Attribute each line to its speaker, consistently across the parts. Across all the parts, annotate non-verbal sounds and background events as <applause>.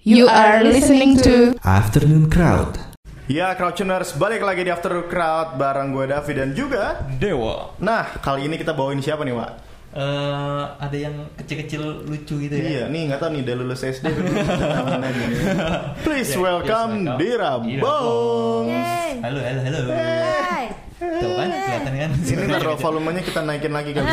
Speaker 1: You are listening to
Speaker 2: Afternoon Crowd.
Speaker 3: Ya, Crowdtuners, balik lagi di After Crowd bareng gue Davi dan juga
Speaker 4: Dewa.
Speaker 3: Nah, kali ini kita bawain siapa nih, Wak?
Speaker 4: Eh, ada yang kecil-kecil lucu gitu
Speaker 3: Iya,
Speaker 4: ya.
Speaker 3: nih nggak tahu nih udah lulus SD
Speaker 4: <laughs>
Speaker 3: dulu. Please welcome
Speaker 4: Iya, yes, welcome.
Speaker 3: Dira
Speaker 4: Dira
Speaker 3: Bongs.
Speaker 4: <laughs> Halo, halo, halo.
Speaker 1: Hai.
Speaker 4: Tuh kan kelihatan kan?
Speaker 3: Ini taruh volumenya kita naikin lagi
Speaker 4: <laughs>
Speaker 3: kali.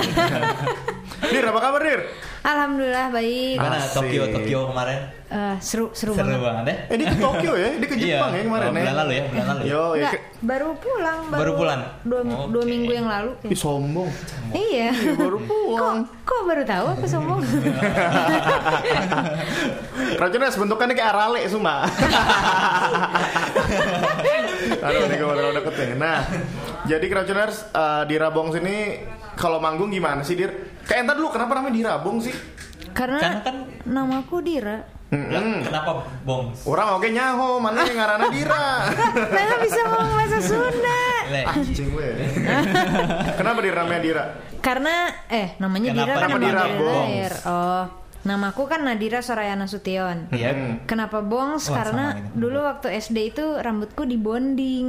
Speaker 3: Dir, apa kabar Dir?
Speaker 1: Alhamdulillah baik.
Speaker 4: Gimana
Speaker 3: Asik.
Speaker 4: Tokyo, Tokyo kemarin?
Speaker 1: Eh, seru seru
Speaker 4: Ah, Seru
Speaker 1: banget.
Speaker 4: banget ya?
Speaker 3: Eh, dia ke Tokyo ya? Dia ke Jepang ya kemarin
Speaker 4: oh, Bulan lalu ya, bulan lalu.
Speaker 3: Yo, ya.
Speaker 1: Nggak, baru pulang baru,
Speaker 4: Baru pulang?
Speaker 1: dua, dua
Speaker 4: Oke.
Speaker 1: minggu yang lalu
Speaker 3: Ih,
Speaker 1: kayaknya.
Speaker 3: sombong.
Speaker 1: Iya.
Speaker 3: Ih, baru
Speaker 1: kok
Speaker 3: pulang.
Speaker 1: kok baru tahu aku
Speaker 4: <laughs>
Speaker 1: sombong?
Speaker 4: Iya.
Speaker 3: Crowdtuners bentukannya kayak Arale semua. Aduh, ini gue terlalu deket nih. Nah, jadi Crowdtuners eh, di Rabong sini kalau manggung gimana sih, Dir? Kayak entar dulu kenapa namanya di Rabong sih?
Speaker 1: Karena,
Speaker 4: Karena kan-
Speaker 1: nama aku Dira.
Speaker 4: Lah, Kenapa bong?
Speaker 3: Orang oke nyaho, mana yang ngarana Dira?
Speaker 1: Nana bisa ngomong bahasa Sunda.
Speaker 4: Le,
Speaker 3: Anjing gue. Kenapa Dira namanya Dira?
Speaker 1: Karena eh namanya
Speaker 4: Kenapa
Speaker 1: Dira
Speaker 4: nama
Speaker 1: kan
Speaker 3: Dira
Speaker 1: nama
Speaker 3: Bongs?
Speaker 1: lahir. Oh, nama aku kan Nadira Sorayana Sution.
Speaker 4: Iya.
Speaker 3: Hmm.
Speaker 1: Kenapa bongs?
Speaker 4: Wah,
Speaker 1: Karena
Speaker 4: sama ini.
Speaker 1: dulu waktu SD itu rambutku dibonding,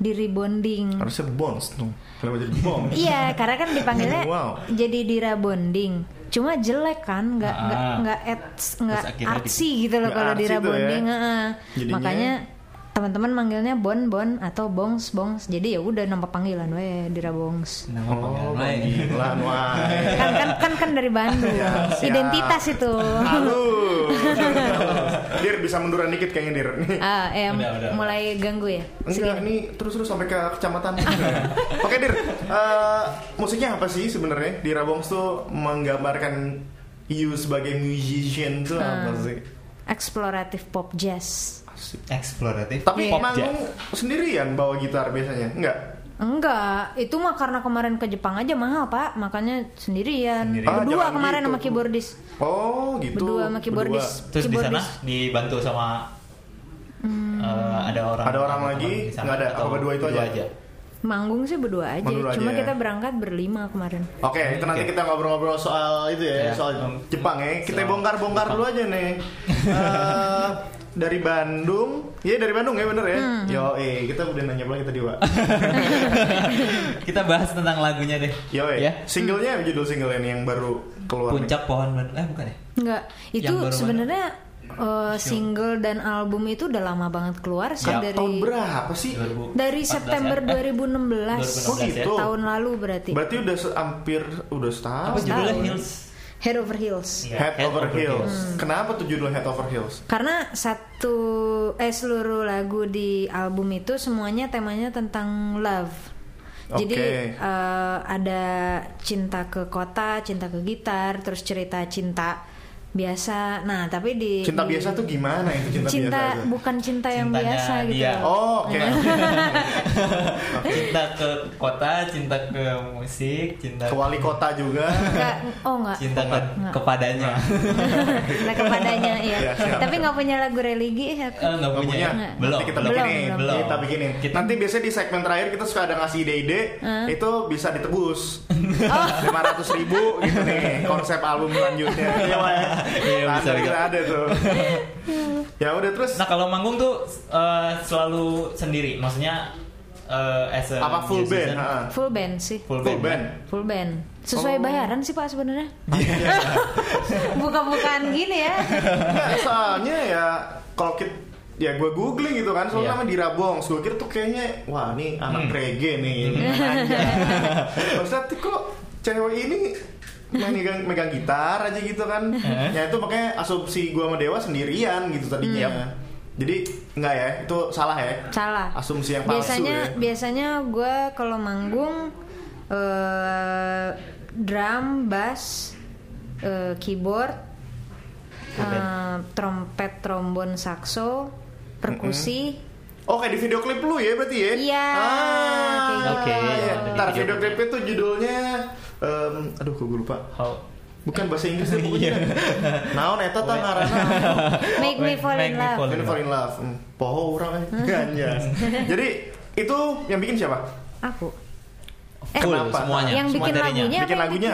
Speaker 1: di rebonding.
Speaker 3: Harusnya Bongs dong. Kenapa jadi Bong?
Speaker 1: Iya, karena kan dipanggilnya
Speaker 3: <laughs> Wow.
Speaker 1: jadi Dira Bonding. Cuma jelek kan, nggak
Speaker 4: Ah.
Speaker 1: nggak nggak ets, nggak
Speaker 4: akhirnya
Speaker 1: artsy gitu loh
Speaker 3: Nggak
Speaker 1: kalau
Speaker 3: artsy
Speaker 1: Dira
Speaker 3: tuh ya.
Speaker 1: Bonding. heeh.
Speaker 3: Jadinya-
Speaker 1: Makanya teman-teman manggilnya Bon Bon atau Bongs Bongs. Jadi ya udah nama panggilan we Dira Bongs.
Speaker 4: Nama
Speaker 3: Oh,
Speaker 4: panggilan lain.
Speaker 3: panggilan, wah.
Speaker 1: Kan kan kan, kan dari Bandung.
Speaker 3: Iya, siap.
Speaker 1: Identitas itu.
Speaker 3: Halus. Dir bisa munduran dikit kayaknya Dir. Nih.
Speaker 1: <laughs> Ah, eh,
Speaker 4: Udah, udah.
Speaker 1: mulai ganggu ya.
Speaker 3: Enggak, ini terus-terus sampai ke kecamatan. <laughs> Oke, Dir. eh, musiknya apa sih sebenarnya? Di Rabongs tuh menggambarkan you sebagai musician tuh
Speaker 1: Hmm.
Speaker 3: apa sih?
Speaker 1: Explorative pop jazz.
Speaker 3: Asik.
Speaker 4: Eksploratif.
Speaker 3: Tapi
Speaker 4: pop
Speaker 3: manggung
Speaker 4: jazz.
Speaker 3: sendirian bawa gitar biasanya? Enggak.
Speaker 1: Enggak, itu mah karena kemarin ke Jepang aja mahal pak, makanya sendirian.
Speaker 4: Sendirian.
Speaker 3: Ah,
Speaker 1: Berdua
Speaker 3: jangan
Speaker 1: kemarin
Speaker 3: gitu.
Speaker 1: sama keyboardis,
Speaker 3: Oh, gitu.
Speaker 1: berdua sama keyboardis.
Speaker 3: Berdua.
Speaker 4: Terus di sana
Speaker 1: Keyboardis.
Speaker 4: dibantu sama eh, ada orang
Speaker 3: Hmm. Ada orang
Speaker 4: teman
Speaker 3: lagi?
Speaker 4: di sana
Speaker 3: Nggak ada,
Speaker 4: atau
Speaker 3: apa berdua itu
Speaker 4: berdua
Speaker 3: aja?
Speaker 1: manggung sih berdua aja.
Speaker 3: Berdua
Speaker 1: Cuma
Speaker 3: aja,
Speaker 1: kita
Speaker 3: ya.
Speaker 1: berangkat berlima kemarin.
Speaker 3: Oke, itu nanti
Speaker 4: Oke.
Speaker 3: kita ngobrol-ngobrol soal itu ya,
Speaker 4: Ya.
Speaker 3: soal Jepang ya. Kita
Speaker 4: Soal
Speaker 3: bongkar-bongkar dulu aja nih. <laughs> Eh, dari Bandung, iya dari Bandung ya bener ya.
Speaker 1: Hmm.
Speaker 3: Yo, eh kita udah nanya lagi tadi Wak.
Speaker 4: Kita bahas tentang lagunya deh.
Speaker 3: Yo, eh,
Speaker 4: Ya.
Speaker 3: singlenya judul single ini yang baru keluar. nih.
Speaker 4: Puncak pohon Bandung. Eh bukan ya?
Speaker 1: Enggak, itu
Speaker 4: Yang baru mana?
Speaker 1: sebenarnya eh, single dan album itu udah lama banget keluar sih
Speaker 4: Siap.
Speaker 1: dari
Speaker 3: Ya, Tahun berapa sih?
Speaker 4: 2014
Speaker 1: dari
Speaker 4: ya?
Speaker 1: September
Speaker 4: Eh,
Speaker 1: 2016.
Speaker 4: ya.
Speaker 3: Oh, gitu.
Speaker 1: tahun lalu berarti.
Speaker 3: Berarti udah se- hampir udah setahun.
Speaker 4: Apa judulnya Hills?
Speaker 1: Head over heels.
Speaker 4: Iya,
Speaker 3: Head, over heels.
Speaker 4: Hmm.
Speaker 3: Kenapa tuh judul Head over heels?
Speaker 1: Karena satu eh seluruh lagu di album itu semuanya temanya tentang love. Jadi
Speaker 3: Oke.
Speaker 1: eh, ada cinta ke kota, cinta ke gitar, terus cerita cinta biasa. Nah, tapi di
Speaker 3: Cinta
Speaker 1: di-
Speaker 3: biasa tuh gimana itu cinta,
Speaker 1: cinta
Speaker 3: biasa? aja?
Speaker 1: bukan cinta yang
Speaker 4: Cintanya
Speaker 1: biasa gitu.
Speaker 4: dia.
Speaker 3: Oh, oke.
Speaker 4: <laughs> Cinta ke kota, cinta ke musik, cinta
Speaker 3: Ke wali kota juga.
Speaker 1: Enggak, oh enggak. <laughs>
Speaker 4: cinta ke kepadanya.
Speaker 1: Nah, kepadanya ya.
Speaker 3: Iya, siap.
Speaker 1: tapi nggak punya lagu religi ya.
Speaker 4: Eh, nggak
Speaker 3: Nggak
Speaker 4: punya.
Speaker 3: punya.
Speaker 4: Belum.
Speaker 3: Nanti kita
Speaker 4: belum,
Speaker 3: bikinin,
Speaker 4: belum.
Speaker 3: kita bikinin.
Speaker 4: Kita-
Speaker 3: Nanti biasanya di segmen terakhir kita suka ada ngasih ide-ide, itu bisa ditebus
Speaker 1: Oh.
Speaker 3: lima ratus ribu gitu nih konsep album selanjutnya. Iya, Wak.
Speaker 4: <laughs> <laughs> Iya,
Speaker 3: Nanti
Speaker 4: bisa, bisa.
Speaker 3: kita ada tuh. ya udah terus
Speaker 4: Nah kalau manggung tuh eh, selalu sendiri, maksudnya eh, as a
Speaker 3: apa full band?
Speaker 4: musician,
Speaker 3: Ha-ha.
Speaker 1: Full band sih.
Speaker 4: Full
Speaker 3: Full
Speaker 4: band.
Speaker 3: band.
Speaker 1: Full band. Sesuai
Speaker 3: Oh. Iya.
Speaker 1: bayaran sih Pak sebenarnya. <laughs> Buka-bukaan gini ya.
Speaker 3: Nggak, soalnya ya kalau kita ya gue googling gitu kan soalnya
Speaker 4: Iya. Hmm.
Speaker 3: nama Dira Bongs gue kira tuh kayaknya wah nih anak reggae
Speaker 4: <laughs>
Speaker 3: nih maksudnya tuh kok cewek ini main megang, megang gitar aja gitu kan
Speaker 4: Eh?
Speaker 3: ya itu makanya asumsi gue sama Dewa sendirian gitu
Speaker 4: Hmm.
Speaker 3: tadinya jadi nggak ya itu salah ya
Speaker 1: Salah.
Speaker 3: asumsi yang palsu
Speaker 1: biasanya
Speaker 3: ya
Speaker 1: biasanya gue kalau manggung eh drum, bass, eh, keyboard, eh, trompet, trombon, sakso, perkusi.
Speaker 3: Oh kayak di video klip lu ya berarti ya?
Speaker 1: Iya, kayak
Speaker 3: Ah,
Speaker 4: Oke, gitu.
Speaker 3: iya.
Speaker 4: di
Speaker 3: Ntar
Speaker 4: video
Speaker 3: video
Speaker 4: klip.
Speaker 3: klip itu judulnya, em, aduh gue lupa.
Speaker 4: How
Speaker 3: Bukan bahasa Inggris ya pokoknya.
Speaker 4: Iya.
Speaker 3: Naon eta ta
Speaker 4: <laughs>
Speaker 3: ngaranna?
Speaker 1: Make me fall in love.
Speaker 3: When for in love. Hmm, Poho
Speaker 1: <laughs>
Speaker 3: urang eh. Ganjas. Jadi itu yang bikin siapa?
Speaker 1: Aku. Eh,
Speaker 4: Full
Speaker 3: Eh, Kenapa?
Speaker 4: semuanya.
Speaker 1: yang
Speaker 4: semua
Speaker 1: bikin
Speaker 4: materinya.
Speaker 1: lagunya apa
Speaker 3: Bikin
Speaker 1: yang Iya.
Speaker 3: lagunya,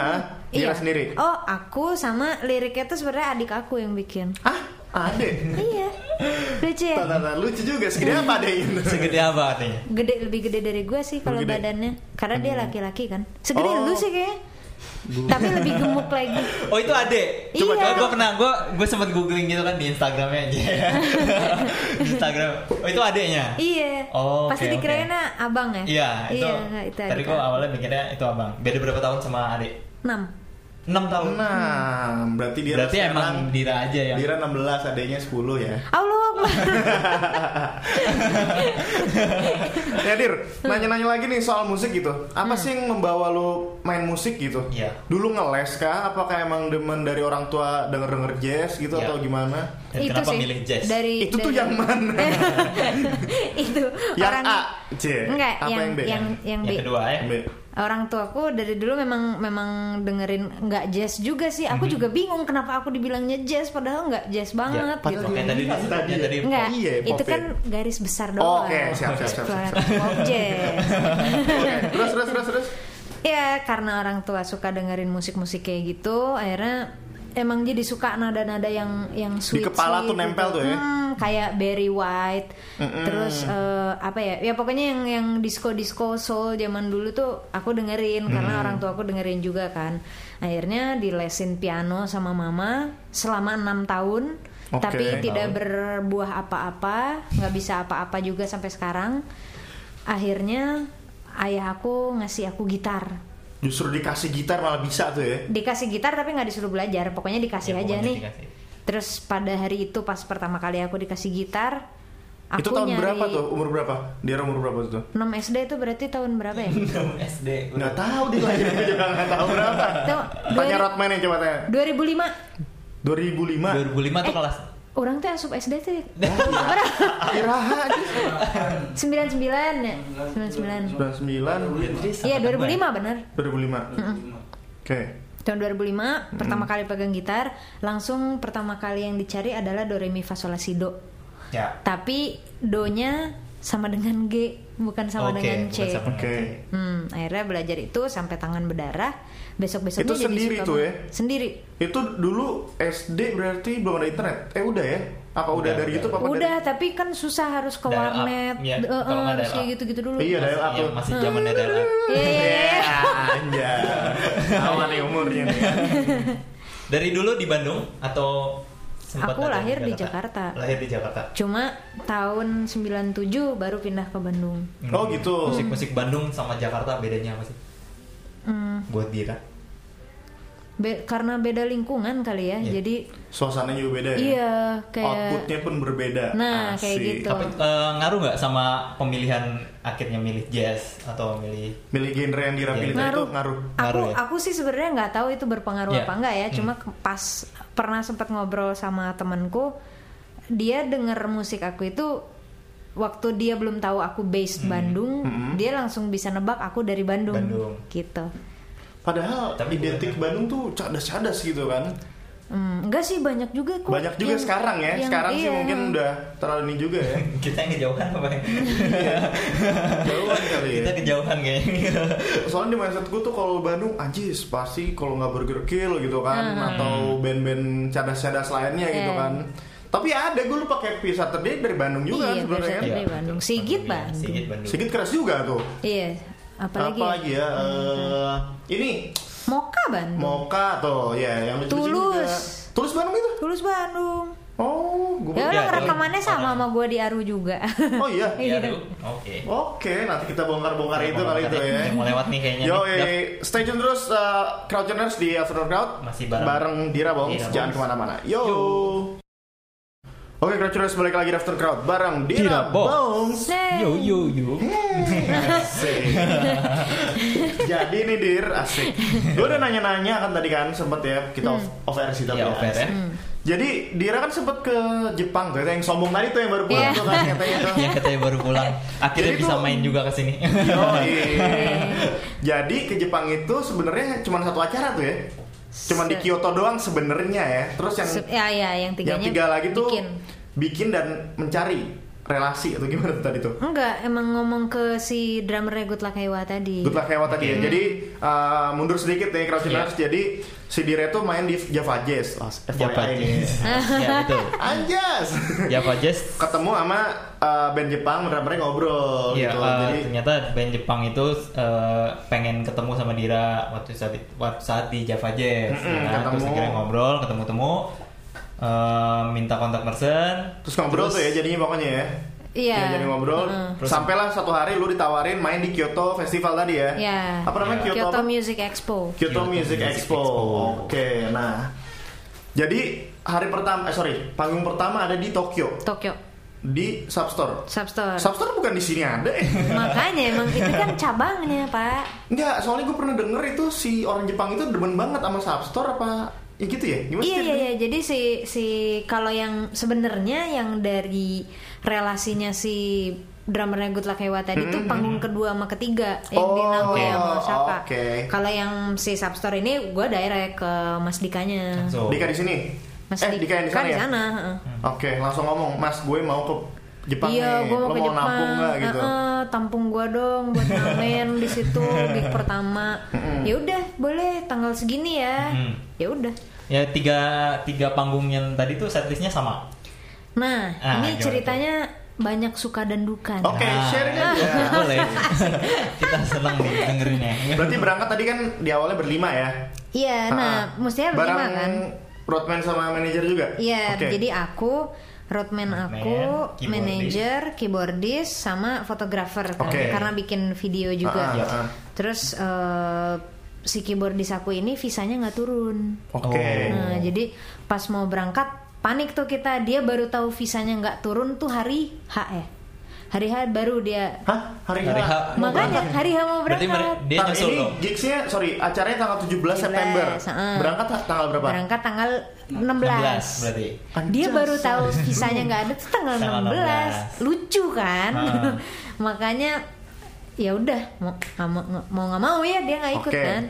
Speaker 3: Dira sendiri.
Speaker 1: Oh, aku sama liriknya tuh sebenarnya adik aku yang bikin.
Speaker 3: Hah? Ada.
Speaker 1: iya lucu ya
Speaker 3: Tata lucu juga segede apa deh ini?
Speaker 4: segede apa artinya
Speaker 1: gede lebih gede dari gue sih kalau
Speaker 3: Lebih gede.
Speaker 1: badannya karena dia laki-laki kan segede
Speaker 3: Oh.
Speaker 1: lu sih kayaknya tapi lebih gemuk lagi
Speaker 4: Oh itu ade.
Speaker 1: Coba, Iya.
Speaker 4: gue pernah gue gue sempet googling gitu kan di Instagramnya
Speaker 1: <laughs>
Speaker 4: aja. di Instagram. Oh itu adeknya.
Speaker 1: iya
Speaker 4: Oh,
Speaker 1: pasti
Speaker 4: oke, oke.
Speaker 1: dikirainnya abang ya
Speaker 4: Iya itu.
Speaker 1: enggak, itu
Speaker 4: tadi
Speaker 1: adik
Speaker 4: gue
Speaker 1: aku.
Speaker 4: awalnya mikirnya itu abang. Beda berapa tahun sama adek?
Speaker 1: enam
Speaker 4: 6 tahun.
Speaker 3: Nah, berarti dia
Speaker 4: Berarti emang Dira aja ya.
Speaker 3: Dira 16, adanya 10 ya.
Speaker 1: Allah Akbar.
Speaker 3: ya Dir, nanya-nanya lagi nih soal musik gitu. Apa
Speaker 1: Hmm.
Speaker 3: sih yang membawa lo main musik gitu?
Speaker 4: Iya.
Speaker 3: Dulu ngeles kah? Apakah emang demen dari orang tua denger-denger jazz gitu
Speaker 4: Iya.
Speaker 3: atau gimana?
Speaker 4: Dan kenapa milih jazz?
Speaker 1: dari
Speaker 3: Itu tuh
Speaker 1: dari-
Speaker 3: yang mana?
Speaker 1: <laughs> itu
Speaker 3: yang
Speaker 1: orang
Speaker 3: A, C.
Speaker 1: enggak
Speaker 3: Apa
Speaker 1: yang
Speaker 3: yang, B?
Speaker 1: yang yang B
Speaker 4: kedua ya.
Speaker 3: B.
Speaker 1: orang tuaku dari dulu memang memang dengerin nggak jazz juga sih aku juga bingung kenapa aku dibilangnya jazz padahal nggak jazz banget
Speaker 4: Pak-
Speaker 1: gitu
Speaker 4: Oke, tadi
Speaker 3: Iya,
Speaker 4: disebutnya
Speaker 3: tadi.
Speaker 4: tadi
Speaker 1: Enggak,
Speaker 3: Iya,
Speaker 1: itu
Speaker 3: Popin.
Speaker 1: kan garis besar doang.
Speaker 3: Oke, siap, siap, siap, siap, siap.
Speaker 1: Explorer of jazz.
Speaker 3: Oke, terus terus terus terus.
Speaker 1: <laughs> ya, karena orang tua suka dengerin musik-musik kayak gitu, akhirnya emang jadi suka nada-nada yang yang sweet.
Speaker 3: kepala tuh nempel tuh ya?
Speaker 1: Hmm, kayak Barry White.
Speaker 3: Mm-mm.
Speaker 1: Terus eh, apa ya? Ya pokoknya yang yang disco-disco soul zaman dulu tuh aku dengerin karena orang tua aku dengerin juga kan. Akhirnya dilesin piano sama mama selama enam tahun.
Speaker 3: Oke.
Speaker 1: tapi tidak berbuah apa-apa, nggak bisa apa-apa juga sampai sekarang. Akhirnya ayah aku ngasih aku gitar.
Speaker 3: Justru dikasih gitar malah bisa tuh ya.
Speaker 1: Dikasih gitar tapi nggak disuruh belajar, pokoknya dikasih
Speaker 4: Ya,
Speaker 1: aja
Speaker 4: pokoknya
Speaker 1: nih.
Speaker 4: dikasih.
Speaker 1: Terus pada hari itu pas pertama kali aku dikasih gitar, aku
Speaker 3: itu tahun
Speaker 1: nyari
Speaker 3: berapa tuh? Umur berapa? Dia umur berapa tuh?
Speaker 1: 6 SD itu berarti tahun berapa ya?
Speaker 4: <laughs> SD.
Speaker 3: Nggak tahu dia lahir juga nggak tahu berapa.
Speaker 1: Tuh,
Speaker 3: Tanya
Speaker 1: dua-
Speaker 3: Rodman yang coba tanya.
Speaker 1: 2005.
Speaker 3: 2005.
Speaker 4: 2005 tuh
Speaker 1: Eh.
Speaker 4: kelas.
Speaker 1: Orang tuh asup SD tuh. Berapa?
Speaker 3: Iraha aja.
Speaker 1: 99 ya? 99.
Speaker 3: 99.
Speaker 1: Iya, 2005 bener.
Speaker 3: 2005. Oke.
Speaker 1: Tahun 2005 pertama
Speaker 3: Hmm.
Speaker 1: kali pegang gitar, langsung pertama kali yang dicari adalah do re mi fa sol la si do.
Speaker 4: Ya.
Speaker 1: Tapi do-nya sama dengan G, bukan sama
Speaker 4: Oke,
Speaker 1: dengan C.
Speaker 4: bukan sama.
Speaker 3: Oke.
Speaker 1: Hmm, akhirnya belajar itu sampai tangan berdarah. Besok-besoknya
Speaker 3: Itu
Speaker 1: jadi
Speaker 3: sendiri
Speaker 1: suka
Speaker 3: tuh
Speaker 1: banget.
Speaker 3: ya?
Speaker 1: Sendiri.
Speaker 3: Itu dulu SD berarti belum ada internet. Eh udah ya? Apa udah,
Speaker 4: Udah,
Speaker 3: dari
Speaker 4: udah.
Speaker 3: itu apa
Speaker 1: Udah, tapi kan susah harus ke
Speaker 4: Dial up,
Speaker 1: warnet.
Speaker 4: ya.
Speaker 1: Eh, eh,
Speaker 4: Kalau nggak
Speaker 1: harus
Speaker 4: dial
Speaker 1: kayak
Speaker 4: up.
Speaker 1: gitu-gitu dulu.
Speaker 3: Iya, dial up tuh.
Speaker 4: Masih- iya, Masih zaman dial
Speaker 3: <laughs>
Speaker 4: up.
Speaker 1: Iya, iya, iya.
Speaker 4: <laughs>
Speaker 3: Ya, anjay. Sama nih umurnya nih. ya.
Speaker 4: Dari dulu di Bandung atau sempat
Speaker 1: Aku
Speaker 4: datang
Speaker 1: lahir di Jakarta.
Speaker 4: Lahir di Jakarta.
Speaker 1: Cuma tahun 97 baru pindah ke Bandung.
Speaker 4: Hmm.
Speaker 3: Oh gitu.
Speaker 4: Musik-musik Bandung sama Jakarta bedanya apa sih?
Speaker 1: Hmm,
Speaker 4: Buat Dira.
Speaker 1: be- karena beda lingkungan kali ya.
Speaker 4: Iya.
Speaker 1: Jadi
Speaker 3: Suasananya juga beda ya.
Speaker 1: iya kayak
Speaker 3: Outputnya pun berbeda.
Speaker 1: Nah, kayak
Speaker 3: Asik.
Speaker 1: gitu.
Speaker 4: Tapi eh, ngaruh nggak sama pemilihan akhirnya milih jazz atau milih <laughs>
Speaker 3: Milih genre yang dirampilin
Speaker 1: Iya.
Speaker 3: itu
Speaker 1: Ngaruh.
Speaker 3: ngaruh. Hmm.
Speaker 1: aku
Speaker 4: Ngaruh ya?
Speaker 1: aku sih sebenarnya nggak tahu itu berpengaruh
Speaker 4: Iya.
Speaker 1: apa enggak ya cuma ke- pas pernah sempat ngobrol sama temanku dia denger musik aku itu waktu dia belum tahu aku based
Speaker 3: Hmm.
Speaker 1: Bandung dia langsung bisa nebak aku dari Bandung,
Speaker 4: Bandung.
Speaker 1: gitu
Speaker 3: Padahal
Speaker 4: Tapi
Speaker 3: identik Bandung tuh cadas-cadas gitu kan.
Speaker 1: Hmm, enggak sih banyak juga kok
Speaker 3: Banyak juga
Speaker 1: yang-
Speaker 3: sekarang ya.
Speaker 1: yang-
Speaker 3: sekarang sih
Speaker 1: iya.
Speaker 3: mungkin udah terlalu ini juga
Speaker 4: <laughs>
Speaker 3: ya.
Speaker 4: kita yang kejauhan apa
Speaker 3: Iya.
Speaker 4: ya?
Speaker 3: Jauhan kali ya.
Speaker 4: kita kejauhan kayaknya.
Speaker 3: Soalnya di mindset gue tuh kalau Bandung anjis pasti kalau nggak Burger Kill gitu kan atau band-band cadas-cadas lainnya gitu
Speaker 1: Hmm. Iya.
Speaker 3: kan. Tapi ada gue lupa kayak P Saturday dari Bandung juga kan
Speaker 1: Iya, P
Speaker 3: sebenarnya kan.
Speaker 1: Saturday. Dari Bandung. Sigit
Speaker 4: Bandung, iya.
Speaker 1: Bandung.
Speaker 4: Sigit Bandung.
Speaker 3: Sedikit keras juga tuh.
Speaker 1: iya apalagi, Hmm.
Speaker 3: Apalagi ya? eh, ini
Speaker 1: Moka Bandung
Speaker 3: Moka tuh ya yang lucu-lucu juga.
Speaker 1: Tulus.
Speaker 3: Tulus Bandung itu.
Speaker 1: Tulus Bandung
Speaker 3: Oh, gue
Speaker 1: ya
Speaker 4: Iya,
Speaker 1: orang
Speaker 4: iya.
Speaker 1: rekamannya sama sama gue di Aru juga
Speaker 3: Oh iya.
Speaker 1: <laughs>
Speaker 4: Iya, Ru. Oke.
Speaker 3: Oke, nanti kita bongkar-bongkar itu kali itu ya.
Speaker 4: Iya, Yang Mau lewat nih kayaknya.
Speaker 3: Yo, eh,
Speaker 4: nih. Dap.
Speaker 3: stay tune terus uh, Crowdtuners di Afternoon Crowd
Speaker 4: Masih bareng.
Speaker 3: Dira Bongs,
Speaker 4: Dira
Speaker 3: jangan
Speaker 4: Bongs.
Speaker 3: kemana-mana. Yo. Oke, Crowdtuners balik lagi di After Crowd bareng
Speaker 4: Dira
Speaker 3: Dira,
Speaker 4: Bongs.
Speaker 3: Bongs.
Speaker 1: Nah.
Speaker 4: Yo yo yo.
Speaker 3: Asik.
Speaker 4: <laughs>
Speaker 3: Jadi nih Dir, asik. Gue udah nanya-nanya kan tadi kan sempet ya kita
Speaker 1: Hmm.
Speaker 3: off, off air sih tapi
Speaker 4: Ya,
Speaker 3: ya.
Speaker 4: over ya.
Speaker 3: Jadi Dira kan sempet ke Jepang tuh, yang sombong tadi tuh yang baru
Speaker 1: <laughs>
Speaker 3: pulang
Speaker 1: Iya.
Speaker 3: tuh kan katanya tuh.
Speaker 4: Yang katanya baru pulang. Akhirnya
Speaker 3: Jadi
Speaker 4: bisa
Speaker 3: tuh-
Speaker 4: main juga ke sini. <laughs>
Speaker 3: Yoi.
Speaker 1: <laughs>
Speaker 3: Jadi ke Jepang itu sebenarnya cuma satu acara tuh ya. Cuman di
Speaker 1: Se-
Speaker 3: Kyoto doang sebenarnya ya. Terus yang
Speaker 1: Se- ya ya yang
Speaker 3: yang
Speaker 1: tiganya
Speaker 3: tiga lagi tuh
Speaker 1: bikin.
Speaker 3: bikin dan mencari. relasi atau gimana tuh tadi tuh?
Speaker 1: Enggak, emang ngomong ke si drummernya Good Luck Hewa tadi.
Speaker 3: Good luck hewa
Speaker 4: Hmm.
Speaker 3: tadi ya. Jadi uh, mundur sedikit nih
Speaker 4: Iya.
Speaker 3: Crouching Jadi si Dire tuh main di Java Jazz. Oh, FYI
Speaker 4: Java
Speaker 3: nih.
Speaker 4: Jazz. ya betul. <laughs>
Speaker 3: Anjas.
Speaker 4: Java Jazz.
Speaker 3: Ketemu sama uh, band Jepang, drummernya ngobrol
Speaker 4: Iya,
Speaker 3: gitu.
Speaker 4: eh,
Speaker 3: Jadi
Speaker 4: ternyata band Jepang itu eh, pengen ketemu sama Dira waktu saat di, waktu saat di Java Jazz.
Speaker 3: Mm-mm,
Speaker 4: ya kan? Terus
Speaker 3: ketemu.
Speaker 4: akhirnya ngobrol, ketemu-temu, eh, minta kontak person.
Speaker 3: terus ngobrol tuh ya jadinya pokoknya ya.
Speaker 1: Iya.
Speaker 3: Ya, jadi ngobrol.
Speaker 1: Heeh.
Speaker 3: Terus- Sampailah satu hari lu ditawarin main di Kyoto Festival tadi ya.
Speaker 1: Ya.
Speaker 3: Apa namanya Kyoto?
Speaker 1: Kyoto
Speaker 3: apa?
Speaker 1: Music Expo.
Speaker 3: Kyoto
Speaker 4: Iya. Kyoto
Speaker 3: Music
Speaker 4: Music
Speaker 3: Expo.
Speaker 4: Expo.
Speaker 3: Oke, nah. Jadi hari pertama eh sorry, panggung pertama ada di Tokyo
Speaker 1: Tokyo
Speaker 3: di Substore.
Speaker 1: Substore.
Speaker 3: Substore bukan di sini ada <laughs> ya?
Speaker 1: Makanya emang itu kan cabangnya, Pak.
Speaker 3: Enggak, soalnya gue pernah denger itu si orang Jepang itu demen banget sama Substore apa ya gitu ya? Gimana
Speaker 1: Iya
Speaker 3: sih?
Speaker 1: iya iya. Jadi si si kalau yang sebenarnya yang dari relasinya si drummernya Good Luck Hewa tadi itu panggung kedua sama ketiga yang di
Speaker 3: Hmm, Oh,
Speaker 1: Nagoya sama
Speaker 3: oke.
Speaker 1: Osaka.
Speaker 3: Oke.
Speaker 1: Kalau yang si Substore ini gue direct ke Mas Dikanya.
Speaker 4: So,
Speaker 3: Dika di sini.
Speaker 1: Mas
Speaker 3: eh, Dika yang di sana
Speaker 1: kan
Speaker 3: ya?
Speaker 1: heeh.
Speaker 3: Oke, langsung ngomong, Mas gue mau ke Jepang
Speaker 1: iya,
Speaker 3: nih,
Speaker 1: gue mau
Speaker 3: lo
Speaker 1: ke
Speaker 3: mau
Speaker 1: Jepang.
Speaker 3: nampung nggak gitu?
Speaker 1: Heeh, tampung gue dong buat ngamen di
Speaker 3: <laughs>
Speaker 1: situ gig pertama. Ya udah, boleh tanggal segini ya.
Speaker 4: Mm.
Speaker 1: Ya udah.
Speaker 4: ya tiga tiga panggung yang tadi tuh setlistnya sama.
Speaker 1: Nah,
Speaker 4: Ah,
Speaker 1: ini
Speaker 4: gimana
Speaker 1: ceritanya banyak suka dan duka. nih.
Speaker 3: Oke, sharing aja.
Speaker 4: Nah, ya,
Speaker 3: <laughs>
Speaker 4: Boleh. <laughs> Kita senang nih dengerinnya.
Speaker 3: Berarti berangkat tadi kan di awalnya berlima ya?
Speaker 1: Iya, nah,
Speaker 3: Ha-ha.
Speaker 1: mestinya
Speaker 3: ah. Barang
Speaker 1: berlima kan?
Speaker 3: Roadman sama manajer juga?
Speaker 1: Iya,
Speaker 3: Oke.
Speaker 1: jadi aku roadman aku,
Speaker 4: keyboardis.
Speaker 1: manajer, keyboardis, sama fotografer kan.
Speaker 3: Oke.
Speaker 1: karena bikin video
Speaker 3: Ah,
Speaker 1: juga.
Speaker 3: ah, ah.
Speaker 1: Terus eh, si keyboardis aku ini visanya nggak turun.
Speaker 3: Oke.
Speaker 4: Oh.
Speaker 1: Nah, jadi pas mau berangkat panik tuh kita dia baru tahu visanya nggak turun tuh hari H ya hari H baru dia
Speaker 3: Hah? Hari,
Speaker 4: Hari
Speaker 3: H?
Speaker 4: H. Mau
Speaker 1: makanya
Speaker 4: berangkat.
Speaker 1: hari H mau
Speaker 4: Berarti
Speaker 1: berangkat
Speaker 4: mere- dia
Speaker 3: Nah,
Speaker 4: nyusul
Speaker 3: ini
Speaker 4: dong.
Speaker 3: gigsnya, sorry, acaranya tanggal 17,
Speaker 1: 17,
Speaker 3: September.
Speaker 1: heeh.
Speaker 3: Berangkat ta- tanggal berapa?
Speaker 1: berangkat tanggal 16,
Speaker 4: 16 berarti.
Speaker 1: dia
Speaker 3: Anjas.
Speaker 1: baru tahu visanya nggak ada tuh tanggal
Speaker 4: Tanggal
Speaker 1: 16 lucu kan
Speaker 4: Ah.
Speaker 1: <laughs> makanya ya udah mau nggak mau mau nggak mau ya dia nggak ikut
Speaker 3: Oke.
Speaker 1: kan